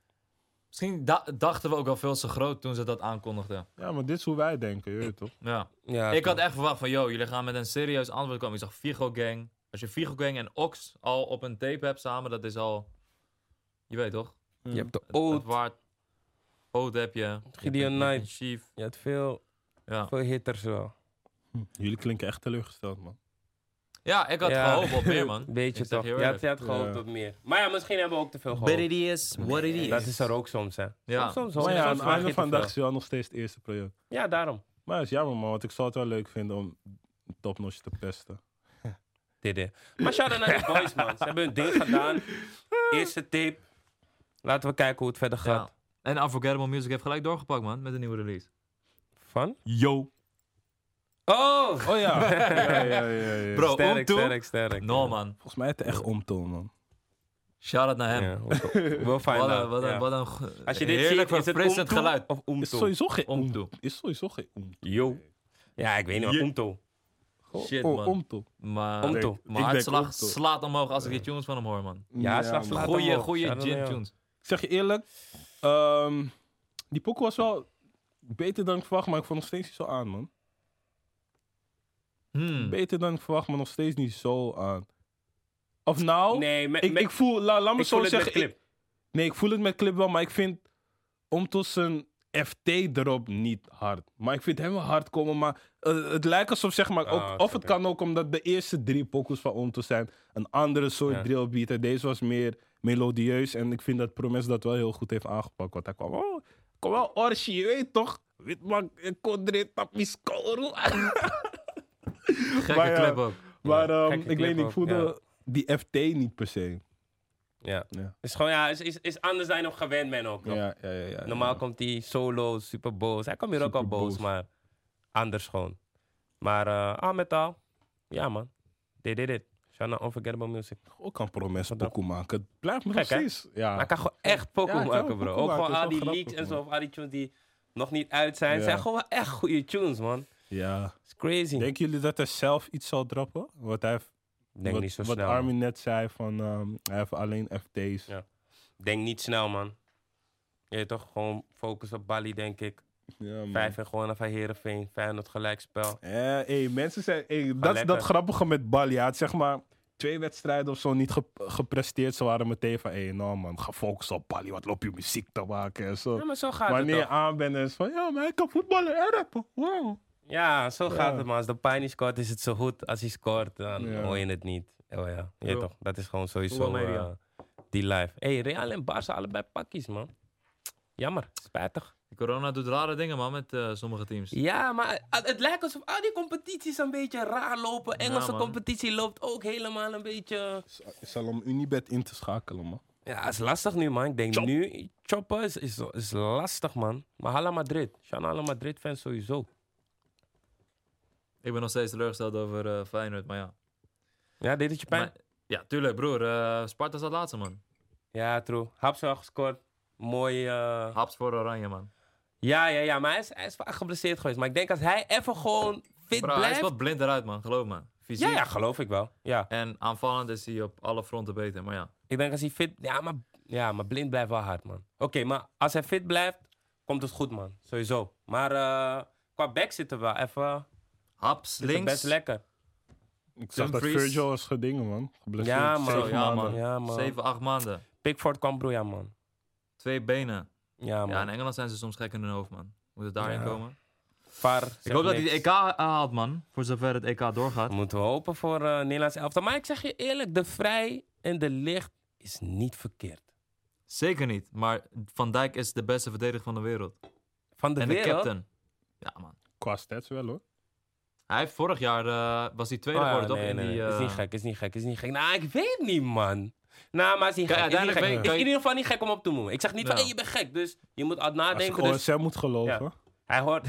C: Misschien da- dachten we ook wel veel te groot toen ze dat aankondigden.
B: Ja, maar dit is hoe wij denken, je weet toch?
C: Ja.
A: Ja,
C: ik had
A: klopt.
C: echt verwacht van, yo, jullie gaan met een serieus antwoord komen. Ik zag Vigo Gang. Als je Vigo Gang en Ox al op een tape hebt samen, dat is al... Je weet toch?
A: Je hebt de
C: Het, het
A: oud,
C: waard. Oud heb je.
A: Gideon
C: Night.
A: Knight.
C: Chief.
A: Je hebt veel,
C: Ja.
A: veel hitters wel.
B: Hm, Jullie klinken echt teleurgesteld, man.
C: ja, ik had
A: Ja.
C: gehoopt op meer, man.
A: Weet je
C: Ik zeg
A: toch?
C: heel
A: Je had,
C: eerlijk.
A: je had gehoopt
B: Ja.
A: op meer. Maar ja, misschien hebben we ook te veel
C: But
A: gehoopt.
C: it is what it is.
A: Dat is er ook soms, hè.
C: Ja.
A: Soms, soms,
B: Maar
A: soms
B: ja, aan het
A: verwacht je
B: einde
A: te
B: van de dag
A: veel.
B: is wel nog steeds het eerste project.
A: Ja, daarom.
B: Maar het is jammer, man, want ik zou het wel leuk vinden om topnotch te pesten.
A: Dit, dit. Maar shout-out naar de boys, man. Ze hebben hun ding gedaan. Eerste tip. Laten we kijken hoe het verder gaat.
B: Nou.
C: Ja. En Unforgettable Music heeft gelijk doorgepakt, man. Met een nieuwe release.
A: Van?
C: Yo.
A: Oh!
B: Oh ja. ja, ja, ja, ja.
C: Bro,
A: sterk,
C: Omtoon?
A: sterk, sterk.
C: No, man.
B: Volgens mij het echt omtoon, man.
C: Shout-out naar hem.
A: Ja, we'll find
C: Wat een,
A: out.
C: wat een,
A: Ja.
C: wat een ge-
A: Als je dit
C: heerlijk
A: ziet, is het
C: verfrissend
A: Omtoon
C: geluid.
A: of
B: Is
A: Omtoon?
B: sowieso geen
C: Omtoon.
B: omtoon. Is sowieso geen omtoon.
A: Yo. Ja, ik weet niet, maar
C: Je-
A: Omtoon.
B: Gewoon-
C: Shit,
B: oh,
C: man.
B: omtoon.
C: Maar...
A: Omtoon.
B: Ik
C: Mijn
B: denk
C: hartslag
B: omtoon.
C: slaat omhoog als ik die tunes van hem hoor, man.
A: Ja, slag
B: man.
A: slaat. Laat
C: Goeie,
A: omhoog.
C: goeie
A: Shout-out naar
C: gin
A: jou.
C: tunes.
B: Ik zeg je eerlijk, ehm, die pokoe was wel beter dan ik verwacht, maar ik vond nog steeds niet zo aan, man.
C: Hmm.
B: Beter dan ik verwacht, maar nog steeds niet zo aan. Of nou,
A: Nee, me,
B: ik,
A: me-
B: ik voel, la- laat me
A: ik
B: zo
A: voel het
B: zeggen.
A: met
B: ik-
A: clip.
B: Nee, ik voel het met Clip wel, maar ik vind Omtos zijn FT erop niet hard. Maar ik vind hem wel hard komen, maar eh, het lijkt alsof zeg maar... Ook,
A: Ah, ik
B: of
A: snap
B: het kan ook omdat de eerste drie pokus van Omtos zijn een andere soort
A: Ja.
B: drillbeat. En deze was meer melodieus en ik vind dat Promes dat wel heel goed heeft aangepakt. Want hij kwam wel, kwam wel orgie, je weet toch? eh, Witmak, ik kon erin, tap me score.
C: Gekke
B: Maar ja,
C: clip ook.
B: Maar ehm,
A: gekke
B: ik
A: clip
B: weet niet, ik
A: ook,
B: voelde
A: ja.
B: die FT niet per se.
A: Ja.
B: Ja.
A: Is gewoon, ja, is, is, is anders dan je nog gewend bent ook. nog.
B: Ja, ja, ja, ja,
A: Normaal
B: ja.
A: komt hij solo, super boos. Hij komt hier ook al
B: Eh, Super
A: boos,
B: boos.
A: maar anders gewoon. Maar eh al met al, ja man. Dit, dit, dit. Shout out Unforgettable Music.
B: Ook kan Promes pokoe maken. Het blijft me nog
A: Gek, hè?
B: steeds. Ja.
A: Maar hij kan gewoon echt pokoe
B: Ja, hij kan
A: maken, bro.
B: wel pokoe
A: Ook gewoon
B: maken,
A: al
B: is wel
A: die
B: grappig,
A: leaks en zo,
B: man.
A: of al die tunes die nog niet uit zijn.
B: Ja.
A: zijn gewoon wel echt goede tunes, man.
B: Ja.
A: It's crazy. Ik
B: Denken jullie dat hij zelf iets zal droppen? Wat, hij, heeft-
A: denk
B: wat,
A: niet zo
B: wat
A: snel. man.
B: Armin net zei, van ehm, hij heeft alleen FT's.
A: Ja. Denk niet snel, man. Je weet toch, gewoon focus op Bali, denk ik.
B: Ja, man.
A: Vijf en gewoon van Herenveen. Feyenoord gelijkspel.
B: Eh, hey, mensen zijn. hey, dat is dat
A: lekker.
B: grappige met Bali. Hij had zeg maar twee wedstrijden of zo niet ge- gepresteerd. Ze waren meteen van: hé, nou man, ga focussen op Bali. Wat loop je muziek te maken en zo.
A: Ja, maar zo gaat
B: Wanneer je
A: het toch?
B: aan bent, is van: ja, maar hij kan voetballen en rappen. Wow.
A: Ja, zo gaat
B: Ja.
A: het, man. Als de Pijn scoort, is het zo goed. Als hij scoort, dan
B: Ja.
A: hoor je het niet. Oh ja, je weet
C: Ja.
A: toch. Dat is gewoon sowieso
C: Voetbalmedia.
A: eh, die live. hey, Real en Barca allebei pakjes, man. Jammer, spijtig.
C: Die corona doet rare dingen, man, met eh, sommige teams.
A: Ja, maar het, het lijkt alsof al die competities een beetje raar lopen.
C: Ja,
A: Engelse
C: man.
A: competitie loopt ook helemaal een beetje...
B: Ik zal hem Unibet in te schakelen, man.
A: Ja, het is lastig nu, man. Ik denk
B: Chop.
A: nu... Choppen is, is, is lastig, man. Maar Hala Madrid. Sean Hala Madrid-fans sowieso.
C: Ik ben nog steeds teleurgesteld over eh, Feyenoord, maar ja.
A: Ja, deed het je pijn?
C: Maar- ja, tuurlijk, broer. eh, Sparta staat laatste, man.
A: Ja, true. Haps wel gescoord. Mooi... eh,
C: Haps voor Oranje, man.
A: Ja, ja, ja. Maar hij is, hij is vaak geblesseerd geweest. Maar ik denk als hij even gewoon fit
C: Bro, hij is
A: blijft...
C: wel blind eruit, man. Geloof me. Fysiek.
A: Ja, ja, geloof ik wel. Ja.
C: En aanvallend is hij op alle fronten beter, maar ja.
A: Ik denk als hij fit... Ja, maar, ja, maar blind blijft wel hard, man. Oké, maar als hij fit blijft, komt het goed, man. Sowieso. Maar eh, qua back zitten we wel even...
C: Haps
A: zit het
C: links.
A: Best lekker.
B: Ik zag dat
C: Dumfries.
B: Virgil was gedingen, man. Geblesseerd.
A: Ja, man.
B: Zeven
C: Zo, ja,
B: maanden.
C: man.
A: Ja, man.
C: 7, 8 maanden.
A: Pickford kwam broeien, man.
C: Twee benen.
A: Ja, man.
C: Ja, in Engeland zijn ze soms gek in hun hoofd, man. Moet het daarin
A: Ja.
C: komen?
A: Var,
C: Ik
A: zeg
C: hoop dat hij de
A: niks.
C: EK haalt, man. Voor zover
A: E
C: het EK doorgaat.
A: Moeten we hopen voor eh Nederlands elftal. Maar ik zeg je eerlijk, de vrij en de licht is niet verkeerd.
C: Zeker niet. Maar Van Dijk is de beste verdediger van de wereld.
A: Van de
C: en de
A: wereld.
C: captain. Ja, man.
B: Qua stats wel, hoor.
C: Hij heeft vorig jaar... eh, was hij tweede
A: Ah,
C: geworden, toch?
A: nee,
C: in
A: nee,
C: die,
A: nee. Is niet
C: eh,
A: gek, is niet gek, is niet gek. Nou, ik weet niet, man. Nou, maar is niet
C: Kijk,
A: gek. Is, niet
C: uiteindelijk
A: gek.
C: ben je-
A: Is
C: kan
A: in
C: je-
A: ieder geval niet gek om op te noemen. Ik zeg niet van,
C: Ja. oh,
A: hey, je bent gek. Dus je moet altijd
B: Als ik
A: nadenken. Dus
B: OSM moet geloven.
A: hij hoort...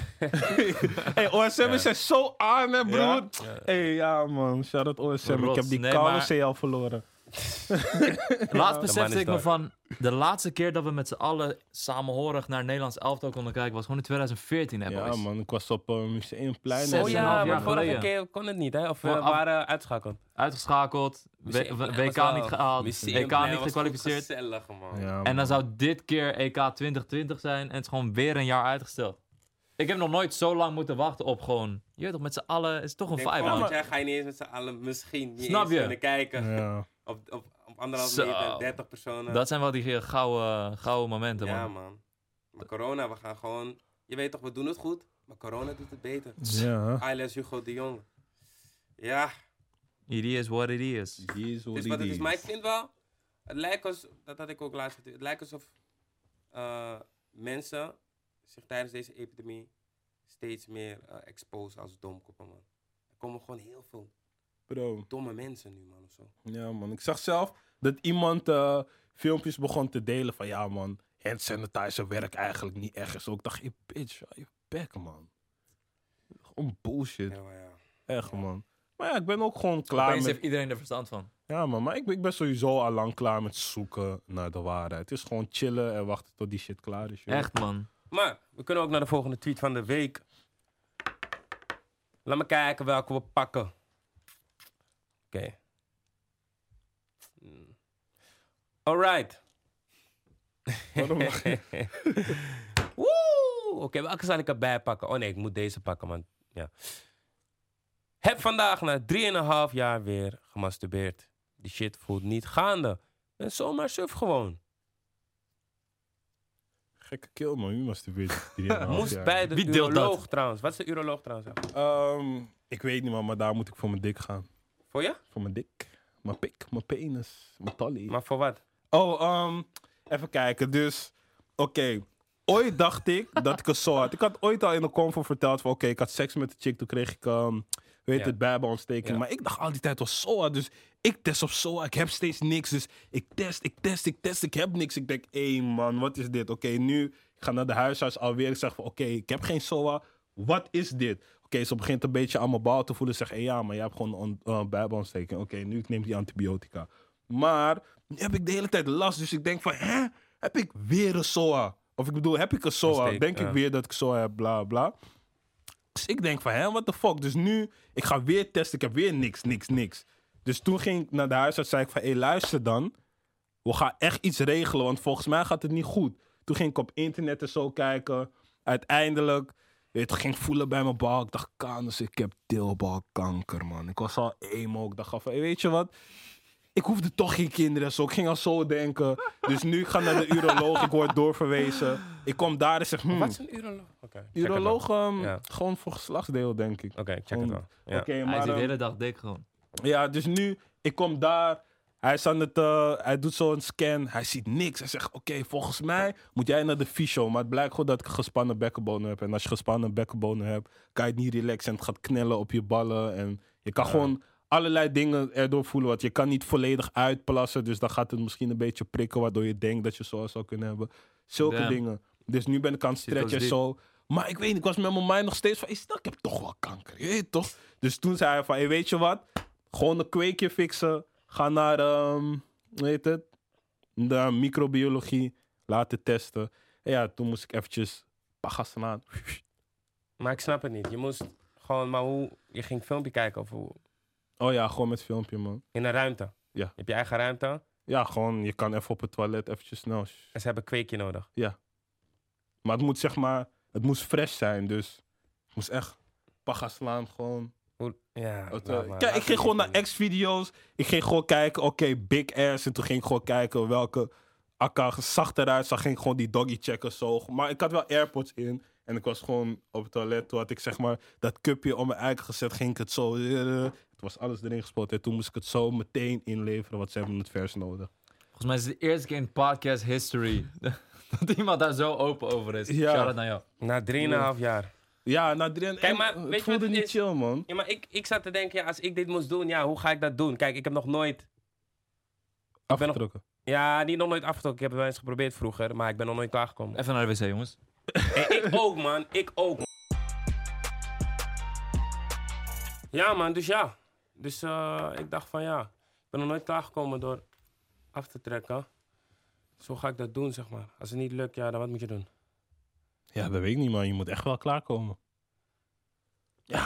B: Hey, OSM'ers zijn zo aan, hè, broer.
A: Ja.
B: Hey, ja, man. Shout-out OSM. ik
C: Rot.
B: heb die
C: Nee,
B: koude
C: maar-
B: C al verloren.
C: Laatst
A: man is
C: besefte ik me
A: daar.
C: van... De laatste keer dat we met z'n allen samenhorig naar Nederlands elftal konden kijken... was gewoon in 2014, hè,
B: Ja,
C: boys.
B: man. Ik was op eh, een museumplein.
C: Zes
A: Oh
C: en
B: zo.
C: een half
A: ja,
C: jaar
A: maar vorige
C: geleden.
A: keer kon het niet, hè? Of we
C: Gewoon af-
A: waren uitschakeld.
C: Uitgeschakeld. W-
A: Museum-
C: w-
A: was
C: WK
A: wel-
C: niet gehaald.
A: Museum-
C: EK
A: Nee,
C: niet
A: was
C: gekwalificeerd.
A: goed Gezellig, man.
B: Ja,
C: En dan
B: man.
C: zou dit keer E EK 2020 zijn en het is gewoon weer een jaar uitgesteld. Ik heb nog nooit zo lang moeten wachten op gewoon. Je weet toch, met z'n allen is het toch een
A: Denk,
C: vibe.
A: volgend
C: man.
A: jaar ga je niet eens met z'n allen misschien niet
C: Snap
A: eens
C: je?
A: kunnen kijken.
B: Ja.
A: Op, op, op anderhalf
C: Zo.
A: meter, 30 personen.
C: Dat zijn wel die eh, gouden, gouden momenten,
A: ja,
C: man.
A: man. Maar corona, we gaan gewoon... Je weet toch, we doen het goed, maar corona doet het beter.
B: Ja.
A: Ailes Hugo de Jong. Ja,
C: It is what it is.
A: het is wat het is. Maar ik vind wel... Het lijkt alsof... Dat had ik ook laatst getu- Het lijkt alsof eh, mensen zich tijdens deze epidemie steeds meer eh exposen als domkoppen, man. Er komen gewoon heel veel
B: Bro.
A: domme mensen nu, man, of zo.
B: Ja, man. Ik zag zelf dat iemand eh, filmpjes begon te delen van... Ja, man. Hand sanitizer werkt eigenlijk niet echt. Zo, ik dacht, je bitch. hou Je bek, man. Gewoon bullshit.
A: Ja, maar ja.
B: Echt, man. Maar ja, ik ben ook gewoon klaar
C: Opeens
B: met...
C: heeft iedereen er verstand van.
B: Ja, man, maar ik, ben- ik ben sowieso al lang klaar met zoeken naar de waarheid. Het is gewoon chillen en wachten tot die shit klaar is. joh.
C: Echt, man.
A: Maar we kunnen ook naar de volgende tweet van de week. Laat me kijken welke we pakken. Oké. Hmm. Alright.
B: Waarom lach je?
A: Woe! Oké, welke zal ik erbij pakken? Oh nee, ik moet deze pakken, man. Ja. Heb vandaag na 3,5 jaar weer gemasturbeerd. Die shit voelt niet gaande. Ben zomaar suf gewoon.
B: Gekke kill, man. U masturbeert. 3,5
A: Moest
B: jaar.
A: bij de
C: Wie deelt dat?
A: uroloog trouwens. Wat is de uroloog trouwens?
B: Ehm, ik weet niet, man, maar daar moet ik voor mijn dik gaan.
A: Voor je?
B: Voor mijn dik. Mijn pik, mijn penis, mijn tally.
A: Maar voor wat?
B: Oh, ehm, even kijken. Dus, oké. Ooit dacht ik dat ik het zo had. Ik had ooit al in de convo verteld van... Oké, ik had seks met de chick. Toen kreeg ik, ehm, weet
A: Ja.
B: het, bijbeontsteking.
A: Ja.
B: Maar ik dacht al die tijd was SOA. Dus ik test op SOA. Ik heb steeds niks. Dus ik test, ik test, ik test. Ik heb niks. Ik denk, hé man, wat is dit? Oké, nu ik ga naar de huisarts alweer. Ik zeg van, oké, ik heb geen SOA. Wat is dit? Oké, ze begint een beetje aan mijn bal te voelen. Zeg, hé ja, maar je hebt gewoon een eh, bijbeontsteking. Oké, nu ik neem die antibiotica. Maar nu heb ik de hele tijd last. Dus ik denk van, hè? Heb ik weer een SOA? Of ik bedoel, heb ik een SOA?
A: Steek,
B: Denk
A: ja.
B: ik weer dat ik SOA heb, bla bla. Dus ik denk van, hè, what the fuck? Dus nu, ik ga weer testen. Ik heb weer niks, niks, niks. Dus toen ging ik naar de huisarts. Zei ik van, hé, luister dan. We gaan echt iets regelen, want volgens mij gaat het niet goed. Toen ging ik op internet en zo kijken. Uiteindelijk, weet, je, ging ik voelen bij mijn balk. Ik dacht, kanus, ik heb deelbalkanker, man. Ik was al emo. Ik dacht al van, hé, weet je wat? Ik hoefde toch geen kinderen. Zo. Ik ging al zo denken. Dus nu ik ga naar de uroloog. Ik word doorverwezen. Ik kom daar en zeg, hmm,
A: Wat is een uroloog? Oké, check het wel.
B: uroloog, ehm,
A: Ja.
B: gewoon voor geslachtsdeel, denk ik.
A: Oké, check het wel. Ja.
B: Oké,
C: Hij
B: maar...
C: zit de
B: ehm,
C: hele dag dik gewoon.
B: ja, dus nu, ik kom daar. Hij, is aan het, eh, hij doet zo'n scan. Hij ziet niks. Hij zegt, oké, volgens mij moet jij naar de fysio. Maar het blijkt gewoon dat ik gespannen bekkenbonen heb. En als je gespannen bekkenbonen hebt, kan je het niet relaxen. En het gaat knellen op je ballen. En je kan gewoon allerlei dingen erdoor voelen. Want je kan niet volledig uitplassen. Dus dan gaat het misschien een beetje prikken. Waardoor je denkt dat je zo zou kunnen hebben. Zulke
C: Damn.
B: dingen. Dus nu ben ik aan het
C: Zit wel
B: stretchen en
C: diep.
B: zo. Maar ik weet niet, ik was met mijn mind nog steeds van... "Hey, Snak, ik heb toch wel kanker, je weet toch? Dus toen zei hij van, hey, weet je wat? Gewoon een kweekje fixen. Ga naar, ehm hoe heet het? Naar microbiologie. Laten testen. En ja, toen moest ik eventjes... Pagassen aan.
A: Maar ik snap het niet. Je moest gewoon, maar hoe, je ging een filmpje kijken of hoe,
B: Oh ja, gewoon met filmpje, man.
A: in een ruimte.
B: Ja.
A: Je hebt je eigen ruimte en
B: Ja, gewoon, je kan even op het toilet eventjes snel.
A: ze hebben een kweekje nodig.
B: Maar het moet zeg maar... Het moest fresh zijn, dus... Het moest echt... Pagaslaan, gewoon...
A: Hoe, ja,
B: Het,
A: laat
B: eh,
A: maar.
B: kijk,
A: Laat
B: ik ging
A: het
B: gewoon
A: niet
B: naar X-video's. Ik ging gewoon kijken, oké, big ass. En toen ging ik gewoon kijken welke akka zacht eruit zag. Ging ik gewoon die doggy checken zo. Maar ik had wel AirPods in. En ik was gewoon op het toilet. Toen had ik zeg maar dat cupje om mijn eigen gezet. Ging ik het zo. eh, Het was alles erin gespoten. En toen moest ik het zo meteen inleveren. Want ze hebben het vers nodig.
C: Volgens mij is het de eerste keer in podcast history dat iemand daar zo open over is.
B: Ja.
C: Shout out naar jou.
A: doen. Na drieënhalf jaar.
B: Ja, na drie en
A: Kijk, maar
B: en
A: weet je
B: het voelde
A: wat het
B: niet
A: is?
B: chill, man.
A: Ja, maar ik, ik zat te denken, ja, als ik dit moest doen, ja, hoe ga ik dat doen? Kijk, ik heb nog nooit, ben nog-
B: Afgetrokken.
A: ja, niet nog nooit afgetrokken. Ik heb het wel eens geprobeerd vroeger, maar ik ben nog nooit klaargekomen.
C: Even naar de wc, jongens.
A: Hey, ik ook, man. Ik ook. Ja, man. Dus ja. Dus eh, ik dacht van ja. Ik ben nog nooit klaargekomen door af te trekken. Zo ga ik dat doen, zeg maar. Als het niet lukt, ja, dan wat moet je doen?
B: Ja, dat weet ik niet, man. Je moet echt wel klaarkomen.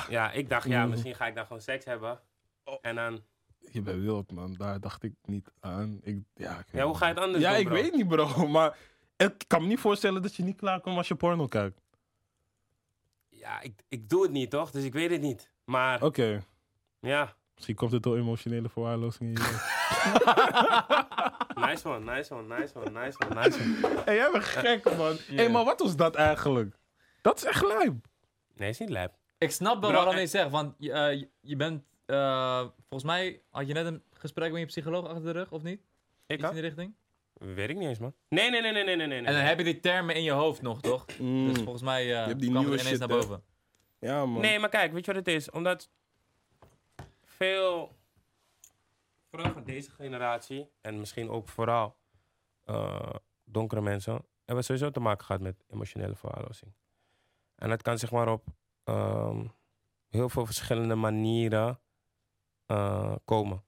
A: Ja, ik dacht, ja,
B: Mhm.
A: misschien ga ik dan gewoon seks hebben.
B: Oh.
A: En dan...
B: Je bent wild, man. Daar dacht ik niet aan. Ik, ja, ik weet
A: Ja, hoe
B: niet.
A: ga je het anders
B: Ja,
A: doen,
B: ik
A: bro?
B: weet niet, bro. Maar ik kan me niet voorstellen dat je niet klaarkomt als je porno kijkt.
A: Ja, ik, ik doe het niet, toch? Dus ik weet het niet. Maar,
B: Oké,
A: ja.
B: misschien komt het door emotionele verwaarlozing in je leven.
A: Nice one, nice one, nice one, nice one, nice one.
B: hey, jij bent gek, man. Hé, hey, maar wat was dat eigenlijk? Dat is echt lijp.
A: Nee, is niet lijp.
C: Ik snap wel
A: Bro,
C: waarom
A: en-
C: je het zegt, want je, eh, je- je bent... eh, volgens mij had je net een gesprek met je psycholoog achter de rug, of niet?
A: Ik
C: Iets in
A: had?
C: die richting?
A: Weet ik niet eens, man. Nee, nee, nee, nee, nee, nee, nee.
C: En dan heb je die termen in je hoofd nog, toch? Dus volgens mij eh
B: hebt die
C: kwam het
B: nieuwe shit,
C: ineens naar
B: hè?
C: boven.
B: Mm. Ja, man.
A: Nee, maar kijk, weet je wat het is? Omdat veel, vooral van deze generatie, en misschien ook vooral eh, donkere mensen, hebben sowieso te maken gehad met emotionele verwaarlozing. En dat kan zeg maar op ehm, heel veel verschillende manieren eh, komen.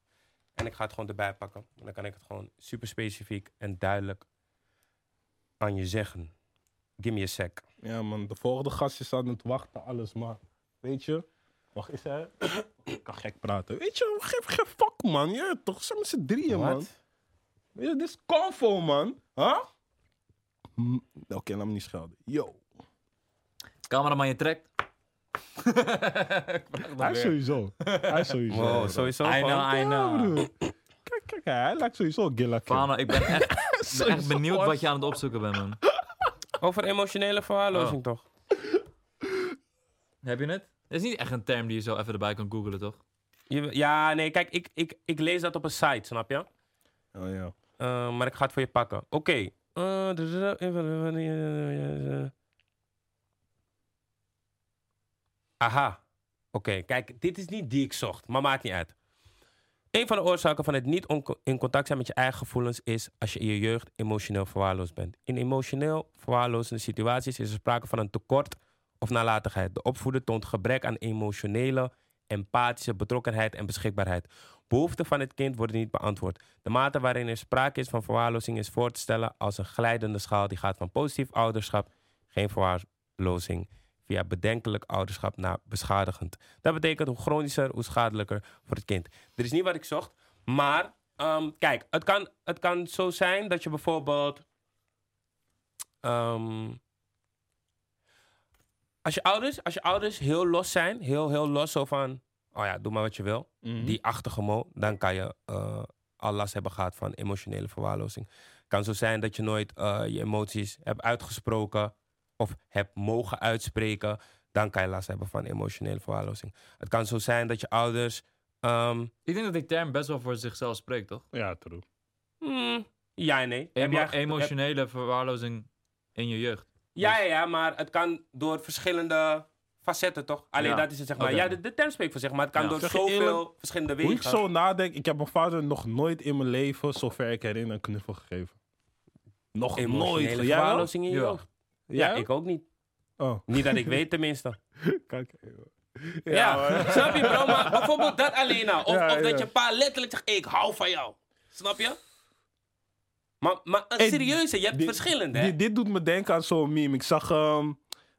A: En ik ga het gewoon erbij pakken. En dan kan ik het gewoon super specifiek en duidelijk aan je zeggen. Give me a sec.
B: Ja, man. De volgende gast is aan het wachten, alles, maar... Weet je? Wacht, is hij... ik kan gek praten. Weet je, geef geen fuck, man. Ja, toch? Zijn met z'n drieën, man.
A: Wat?
B: Weet je, dit is convo, man. Huh? Mm, Oké, laat me niet schelden. Yo.
C: Cameraman, je trekt.
B: Hij is sowieso. Hij is sowieso.
A: Wow,
B: bro.
A: sowieso
C: I
A: gewoon.
C: know, I
B: Ja,
C: know.
B: broer. Kijk, kijk, hij lijkt sowieso Gilla
C: Fano, ik ben echt, ik ben echt
B: Sowieso
C: benieuwd wat
B: hard.
C: je aan het opzoeken bent, man.
A: Over emotionele verwaarlozing toch?
C: Heb je het? Dat is niet echt een term die je zo even erbij kan googlen, toch?
A: Je- ja, nee, kijk, ik, ik, ik lees dat op een site, snap je?
B: Oh ja.
A: Eh, maar ik ga het voor je pakken. Oké. Eh, d- d- d- even- eh, eh, Aha. Oké, kijk, dit is niet die ik zocht, maar maakt niet uit. Een van de oorzaken van het niet onco- in contact zijn met je eigen gevoelens is als je in je jeugd emotioneel verwaarloosd bent. In emotioneel verwaarloosde situaties is er sprake van een tekort of nalatigheid. De opvoeder toont gebrek aan emotionele, empathische betrokkenheid en beschikbaarheid. Behoeften van het kind worden niet beantwoord. De mate waarin er sprake is van verwaarlozing is voor te stellen als een glijdende schaal die gaat van positief ouderschap, geen verwaarlozing, via bedenkelijk ouderschap naar beschadigend. Dat betekent hoe chronischer, hoe schadelijker voor het kind. Dit is niet wat ik zocht, maar ehm, kijk, het kan, het kan zo zijn dat je bijvoorbeeld. ehm, als, je ouders, als je ouders heel los zijn, heel, heel los zo van. Oh ja, doe maar wat je wil
B: Mhm.
A: die achtige mo, dan kan je eh, al last hebben gehad van emotionele verwaarlozing. Het kan zo zijn dat je nooit eh, je emoties hebt uitgesproken of hebt mogen uitspreken. Dan kan je last hebben van emotionele verwaarlozing. Het kan zo zijn dat je ouders. ehm,
C: Ik denk dat die term best wel voor zichzelf spreekt, toch?
B: Ja, true.
A: mm, ja en nee. Heb
C: Emo-
A: jij ge- heb-
C: emotionele verwaarlozing in je jeugd.
A: Ja, ja, ja, maar het kan door verschillende facetten, toch? Alleen
C: Ja.
A: dat is het, zeg maar.
C: Oké.
A: Ja, de, de term spreekt voor zich, maar het kan
C: Ja.
A: door
B: Zeg je
A: zoveel
B: eerlijk,
A: verschillende
B: Hoe ik
A: wegen.
B: zo nadenk, ik heb mijn vader nog nooit in mijn leven, zover ik herinner, een knuffel gegeven. Nog nooit.
A: Emotionele
B: Jij wel?
A: verwaarlozing in je
C: Ja.
A: jeugd.
B: Jij
A: Ja,
B: wel?
A: ik ook niet.
B: Oh,
A: Niet dat ik weet, tenminste.
B: kijk. Ja,
A: Ja,
B: man.
A: snap je bro? Maar bijvoorbeeld dat alleen al. Of,
B: Ja,
A: of
B: ja.
A: dat je pa letterlijk zegt, ik hou van jou. Snap je? Maar, maar een
B: Hey,
A: serieuze, je hebt
B: dit-
A: verschillende. hè?
B: Dit, dit doet me denken aan zo'n meme. Ik zag ehm,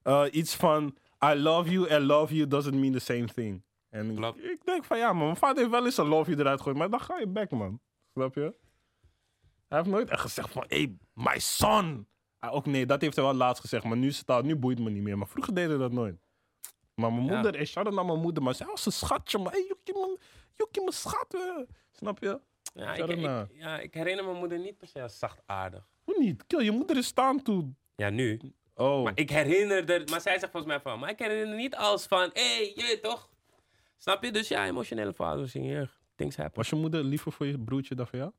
B: eh, iets van... I love you and love you doesn't mean the same thing. En ik-
A: Klopt.
B: ik denk van ja, man. Mijn vader heeft wel eens een love you eruit gegooid. Maar dan ga je back, man. Snap je? Hij heeft nooit echt gezegd van... Hey, my son. Ah, ook nee, dat heeft hij wel laatst gezegd. Maar nu, is het al, nu boeit het me niet meer. Maar vroeger deed hij dat nooit. Maar mijn
C: Ja.
B: moeder... Ik shout naar mijn moeder. Maar zij was een schatje, man. Hey, joekie, man. Joekie, mijn schat. eh. Snap je?
A: ja,
B: Verder
A: ik,
B: maar.
A: ik, ja, ik herinner mijn moeder niet per se als zachtaardig.
B: Hoe niet? Kill, je moeder is staan toe.
A: Ja, nu.
B: Oh.
A: Maar ik herinner er... Maar zij zegt volgens mij van... Maar ik herinner er niet als van... Hé, hey, je weet toch? Snap je? Dus ja, emotionele vaders in je jeugd. Things happen.
B: Was je moeder liever voor je broertje dan voor jou?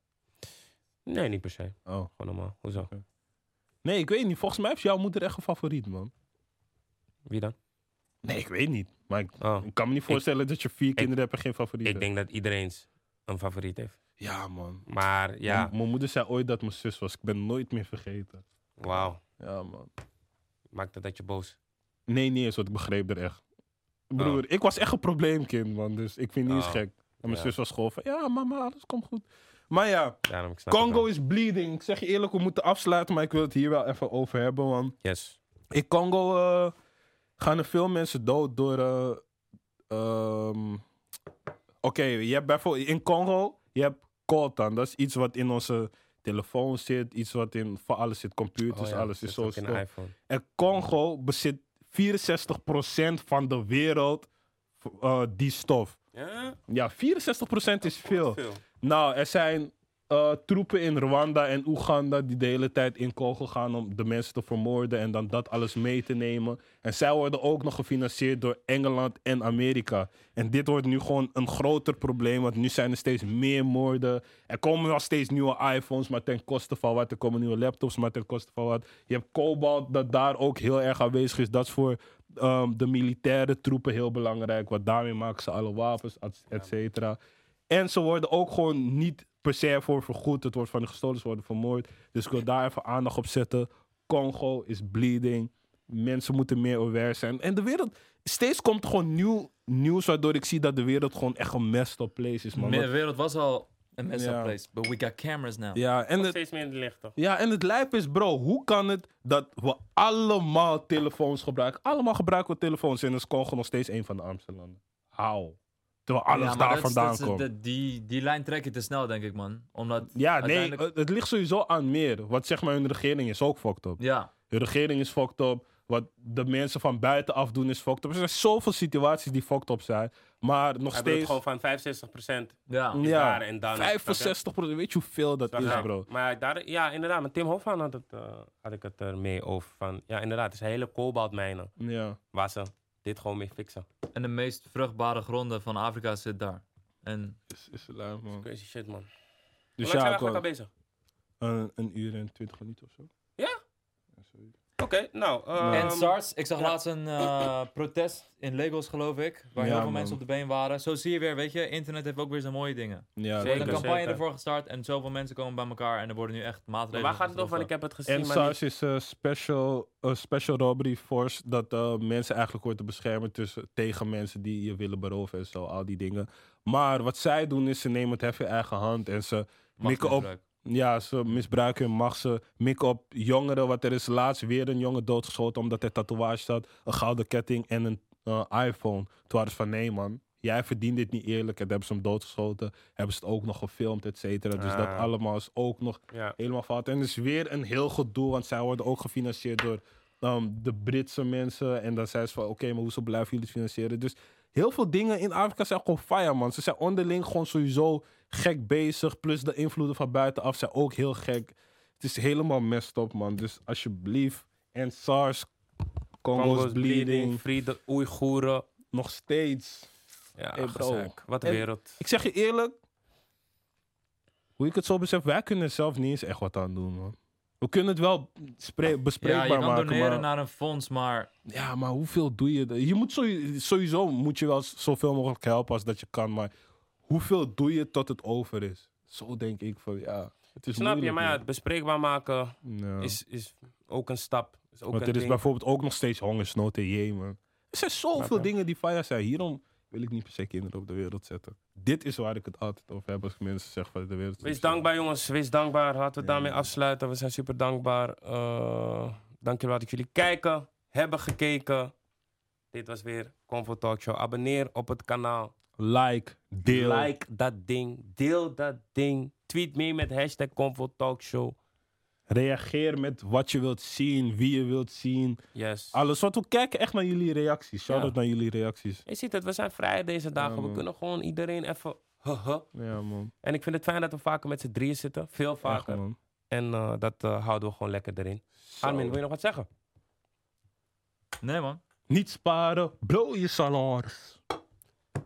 A: Nee, niet per se.
B: Oh.
A: Gewoon normaal. Hoezo?
B: Nee, ik weet niet. Volgens mij heeft jouw moeder echt een favoriet, man.
A: Wie dan?
B: Nee, ik weet niet. Maar ik,
A: Oh,
B: ik kan me niet voorstellen dat je vier kinderen hebt en geen favoriet
A: ik denk dat iedereen een favoriet heeft.
B: Ja, man.
A: Maar ja,
B: M- Mijn moeder zei ooit dat mijn zus was. Ik ben nooit meer vergeten.
A: wauw.
B: Ja, man.
A: Maakt dat dat je boos...
B: Nee, niet eens, want ik begreep er echt. Broer, ik was echt een probleemkind, man. Dus ik vind het niet eens
A: Oh.
B: gek. En mijn
A: Ja.
B: zus was gewoon van, Oh. ja, mama, alles komt goed. Maar ja,
A: Daarom, ik snap het
B: Congo
A: wel.
B: is bleeding. Ik zeg je eerlijk, we moeten afsluiten, maar ik wil het hier wel even over hebben, man.
A: Yes.
B: In Congo eh, gaan er veel mensen dood door. eh, ehm, Oké, je hebt bijvoorbeeld in Congo, je hebt coltan. Dat is iets wat in onze telefoon zit, iets wat in voor alles zit, computers,
A: Oh ja,
B: alles
A: dat
B: is zo.
A: ook in
B: stom.
A: een iPhone.
B: En Congo bezit 64% van de wereld eh, die stof.
A: Ja,
B: Ja, 64% is veel.
A: veel.
B: Nou, er zijn eh, troepen in Rwanda en Oeganda die de hele tijd in Congo gaan om de mensen te vermoorden en dan dat alles mee te nemen. En zij worden ook nog gefinancierd door Engeland en Amerika. En dit wordt nu gewoon een groter probleem, want nu zijn er steeds meer moorden. Er komen wel steeds nieuwe iPhones, maar ten koste van wat. Er komen nieuwe laptops, maar ten koste van wat. Je hebt Cobalt, dat daar ook heel erg aanwezig is. Dat is voor ehm, de militaire troepen heel belangrijk, want daarmee maken ze alle wapens, et- et cetera. En ze worden ook gewoon niet per se voor vergoed. Het wordt van de gestolen, ze worden vermoord. Dus ik wil daar even aandacht op zetten. Congo is bleeding. Mensen moeten meer aware zijn. En de wereld, steeds komt er gewoon nieuw nieuws waardoor ik zie dat de wereld gewoon echt een messed up place is, man.
C: de wereld was al een mess
B: Ja.
C: up place, but we got cameras now.
B: Ja, en
A: Nog
B: het,
A: steeds minder licht, toch?
B: ja, en het lijp is, bro, hoe kan het dat we allemaal telefoons gebruiken? Allemaal gebruiken we telefoons en is Congo nog steeds een van de armste landen. Hou. Terwijl alles
C: Ja, maar
B: daar
C: dat is-
B: vandaan
C: dat is-
B: komt.
C: dat- die, die lijn trek je te snel, denk ik, man. Omdat
B: Ja, nee, eh,
C: uiteindelijk-
B: het, het ligt sowieso aan meer. Want zeg maar, hun regering is ook fucked up.
C: Ja,
B: Hun regering is fucked up. Wat de mensen van buitenaf doen is fucked up. Er zijn zoveel situaties die fucked up zijn. Maar nog
A: Hij bedoelt
B: steeds...
A: gewoon van 65%
C: ja.
A: is
B: Ja,
A: daar en dan...
B: 65 Weet je hoeveel dat
A: Snap je?
B: is,
A: Ja.
B: bro?
A: Maar daar, ja, inderdaad. Met Tim Hofman had, het, eh, had ik het er mee over. Van, ja, inderdaad. Het is een hele kobaltmijnen
B: Ja.
A: waar ze dit gewoon mee fixen.
C: En de meest vruchtbare gronden van Afrika zit daar. En
B: Is, is lui, man.
A: Crazy shit, man.
B: Dus
A: Hoe lang zijn we
B: ja,
A: eigenlijk al
B: gewoon
A: bezig?
B: een, een uur en twintig minuten of zo.
A: Ja?
B: Ja, zoiets.
A: nou. ehm,
C: en SARS, ik zag laatst een eh, protest in Lagos, geloof ik. Waar
B: Ja,
C: heel veel
B: man.
C: mensen op de been waren. Zo zie je weer, weet je, internet heeft ook weer zijn mooie dingen.
B: Ja,
C: Er wordt een
A: Zeker,
C: campagne
A: zeker.
C: ervoor gestart en zoveel mensen komen bij elkaar. En er worden nu echt
A: maar
C: maatregelen.
A: waar gaat het over? Want ik heb het gezien.
B: En
A: maar niet-
B: SARS is een special, eh, special robbery force dat eh, mensen eigenlijk hoort te beschermen tussen, tegen mensen die je willen beroven en zo, al die dingen. Maar wat zij doen is ze nemen het hef in eigen hand en ze mikken op,
C: Machtsmisbruik.
B: ja, ze misbruiken hun macht, ze mikken op jongeren, want er is laatst weer een jongen doodgeschoten omdat hij tatoeage had, een gouden ketting en een eh, iPhone. Toen waren ze van nee man, jij verdient dit niet eerlijk en toen hebben ze hem doodgeschoten, hebben ze het ook nog gefilmd, et cetera. Dus dat
A: Ah.
B: allemaal is ook nog
A: Ja.
B: helemaal fout. En het is weer een heel gedoe, want zij worden ook gefinancierd door ehm, de Britse mensen. En dan zijn ze van, oké, maar hoezo blijven jullie het financieren? Dus heel veel dingen in Afrika zijn gewoon fire, man. Ze zijn onderling gewoon sowieso gek bezig. Plus de invloeden van buitenaf zijn ook heel gek. Het is helemaal messed up, man. Dus alsjeblieft. En SARS, Congo's,
A: Congo's
B: bleeding,
A: bleeding, Frieden, Oeigoeren.
B: nog steeds.
A: Ja,
B: Hey, bro.
A: gezeik. Wat een
B: En-
A: wereld.
B: Ik zeg je eerlijk, hoe ik het zo besef, wij kunnen er zelf niet eens echt wat aan doen, man. We kunnen het wel spre-
C: Ja,
B: bespreekbaar
C: je kan
B: maken,
C: doneren
B: maar,
C: naar een fonds, maar
B: ja, maar hoeveel doe je? er- Je moet sowieso, sowieso moet je wel z- zoveel mogelijk helpen als dat je kan, maar hoeveel doe je tot het over is? Zo denk ik van, ja, het is
A: Snap je?
B: moeilijk,
A: Maar ja,
B: man.
A: het bespreekbaar maken
B: Ja.
A: is, is ook een stap. Is ook
B: Want
A: een
B: er is
A: ding.
B: bijvoorbeeld ook nog steeds hongersnood in Jemen. Er zijn zoveel
A: je?
B: dingen die fire zijn. Hierom wil ik niet per se kinderen op de wereld zetten. Dit is waar ik het altijd over heb als ik mensen zeg van de wereld. is
A: Wees
B: zo.
A: dankbaar, jongens. Wees dankbaar. Laten we
B: Ja,
A: daarmee
B: man.
A: afsluiten. We zijn super dankbaar. Eh dankjewel dat jullie kijken, hebben gekeken. Dit was weer Comfort Talk Show. Abonneer op het kanaal.
B: Like, deel.
A: Like dat ding. Deel dat ding. Tweet mee met hashtag Comfort Talk Show.
B: Reageer met wat je wilt zien, wie je wilt zien.
A: Yes.
B: Alles. Want we kijken echt naar jullie reacties. Shout out
A: Ja.
B: naar jullie reacties.
A: Je ziet het, we zijn vrij deze dagen. we
B: man.
A: kunnen gewoon iedereen even... haha.
B: Ja, man.
A: En ik vind het fijn dat we vaker met z'n drieën zitten. Veel
B: Echt,
A: vaker.
B: man.
A: en eh, dat eh, houden we gewoon lekker erin. Armin,
B: Zo.
A: wil je nog wat zeggen?
C: nee man.
B: Niet sparen, bro, je salaris.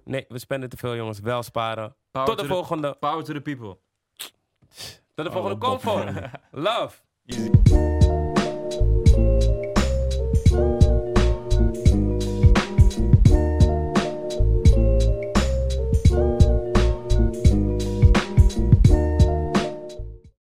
A: Nee, we spenden te veel, jongens. Wel
B: Nou,
A: sparen.
C: Power
A: Tot
C: to
A: de
C: the-
A: volgende.
C: Power to the people.
A: Tot de
B: Oude
A: volgende combo.
B: Bob, man.
A: Love.
C: Easy.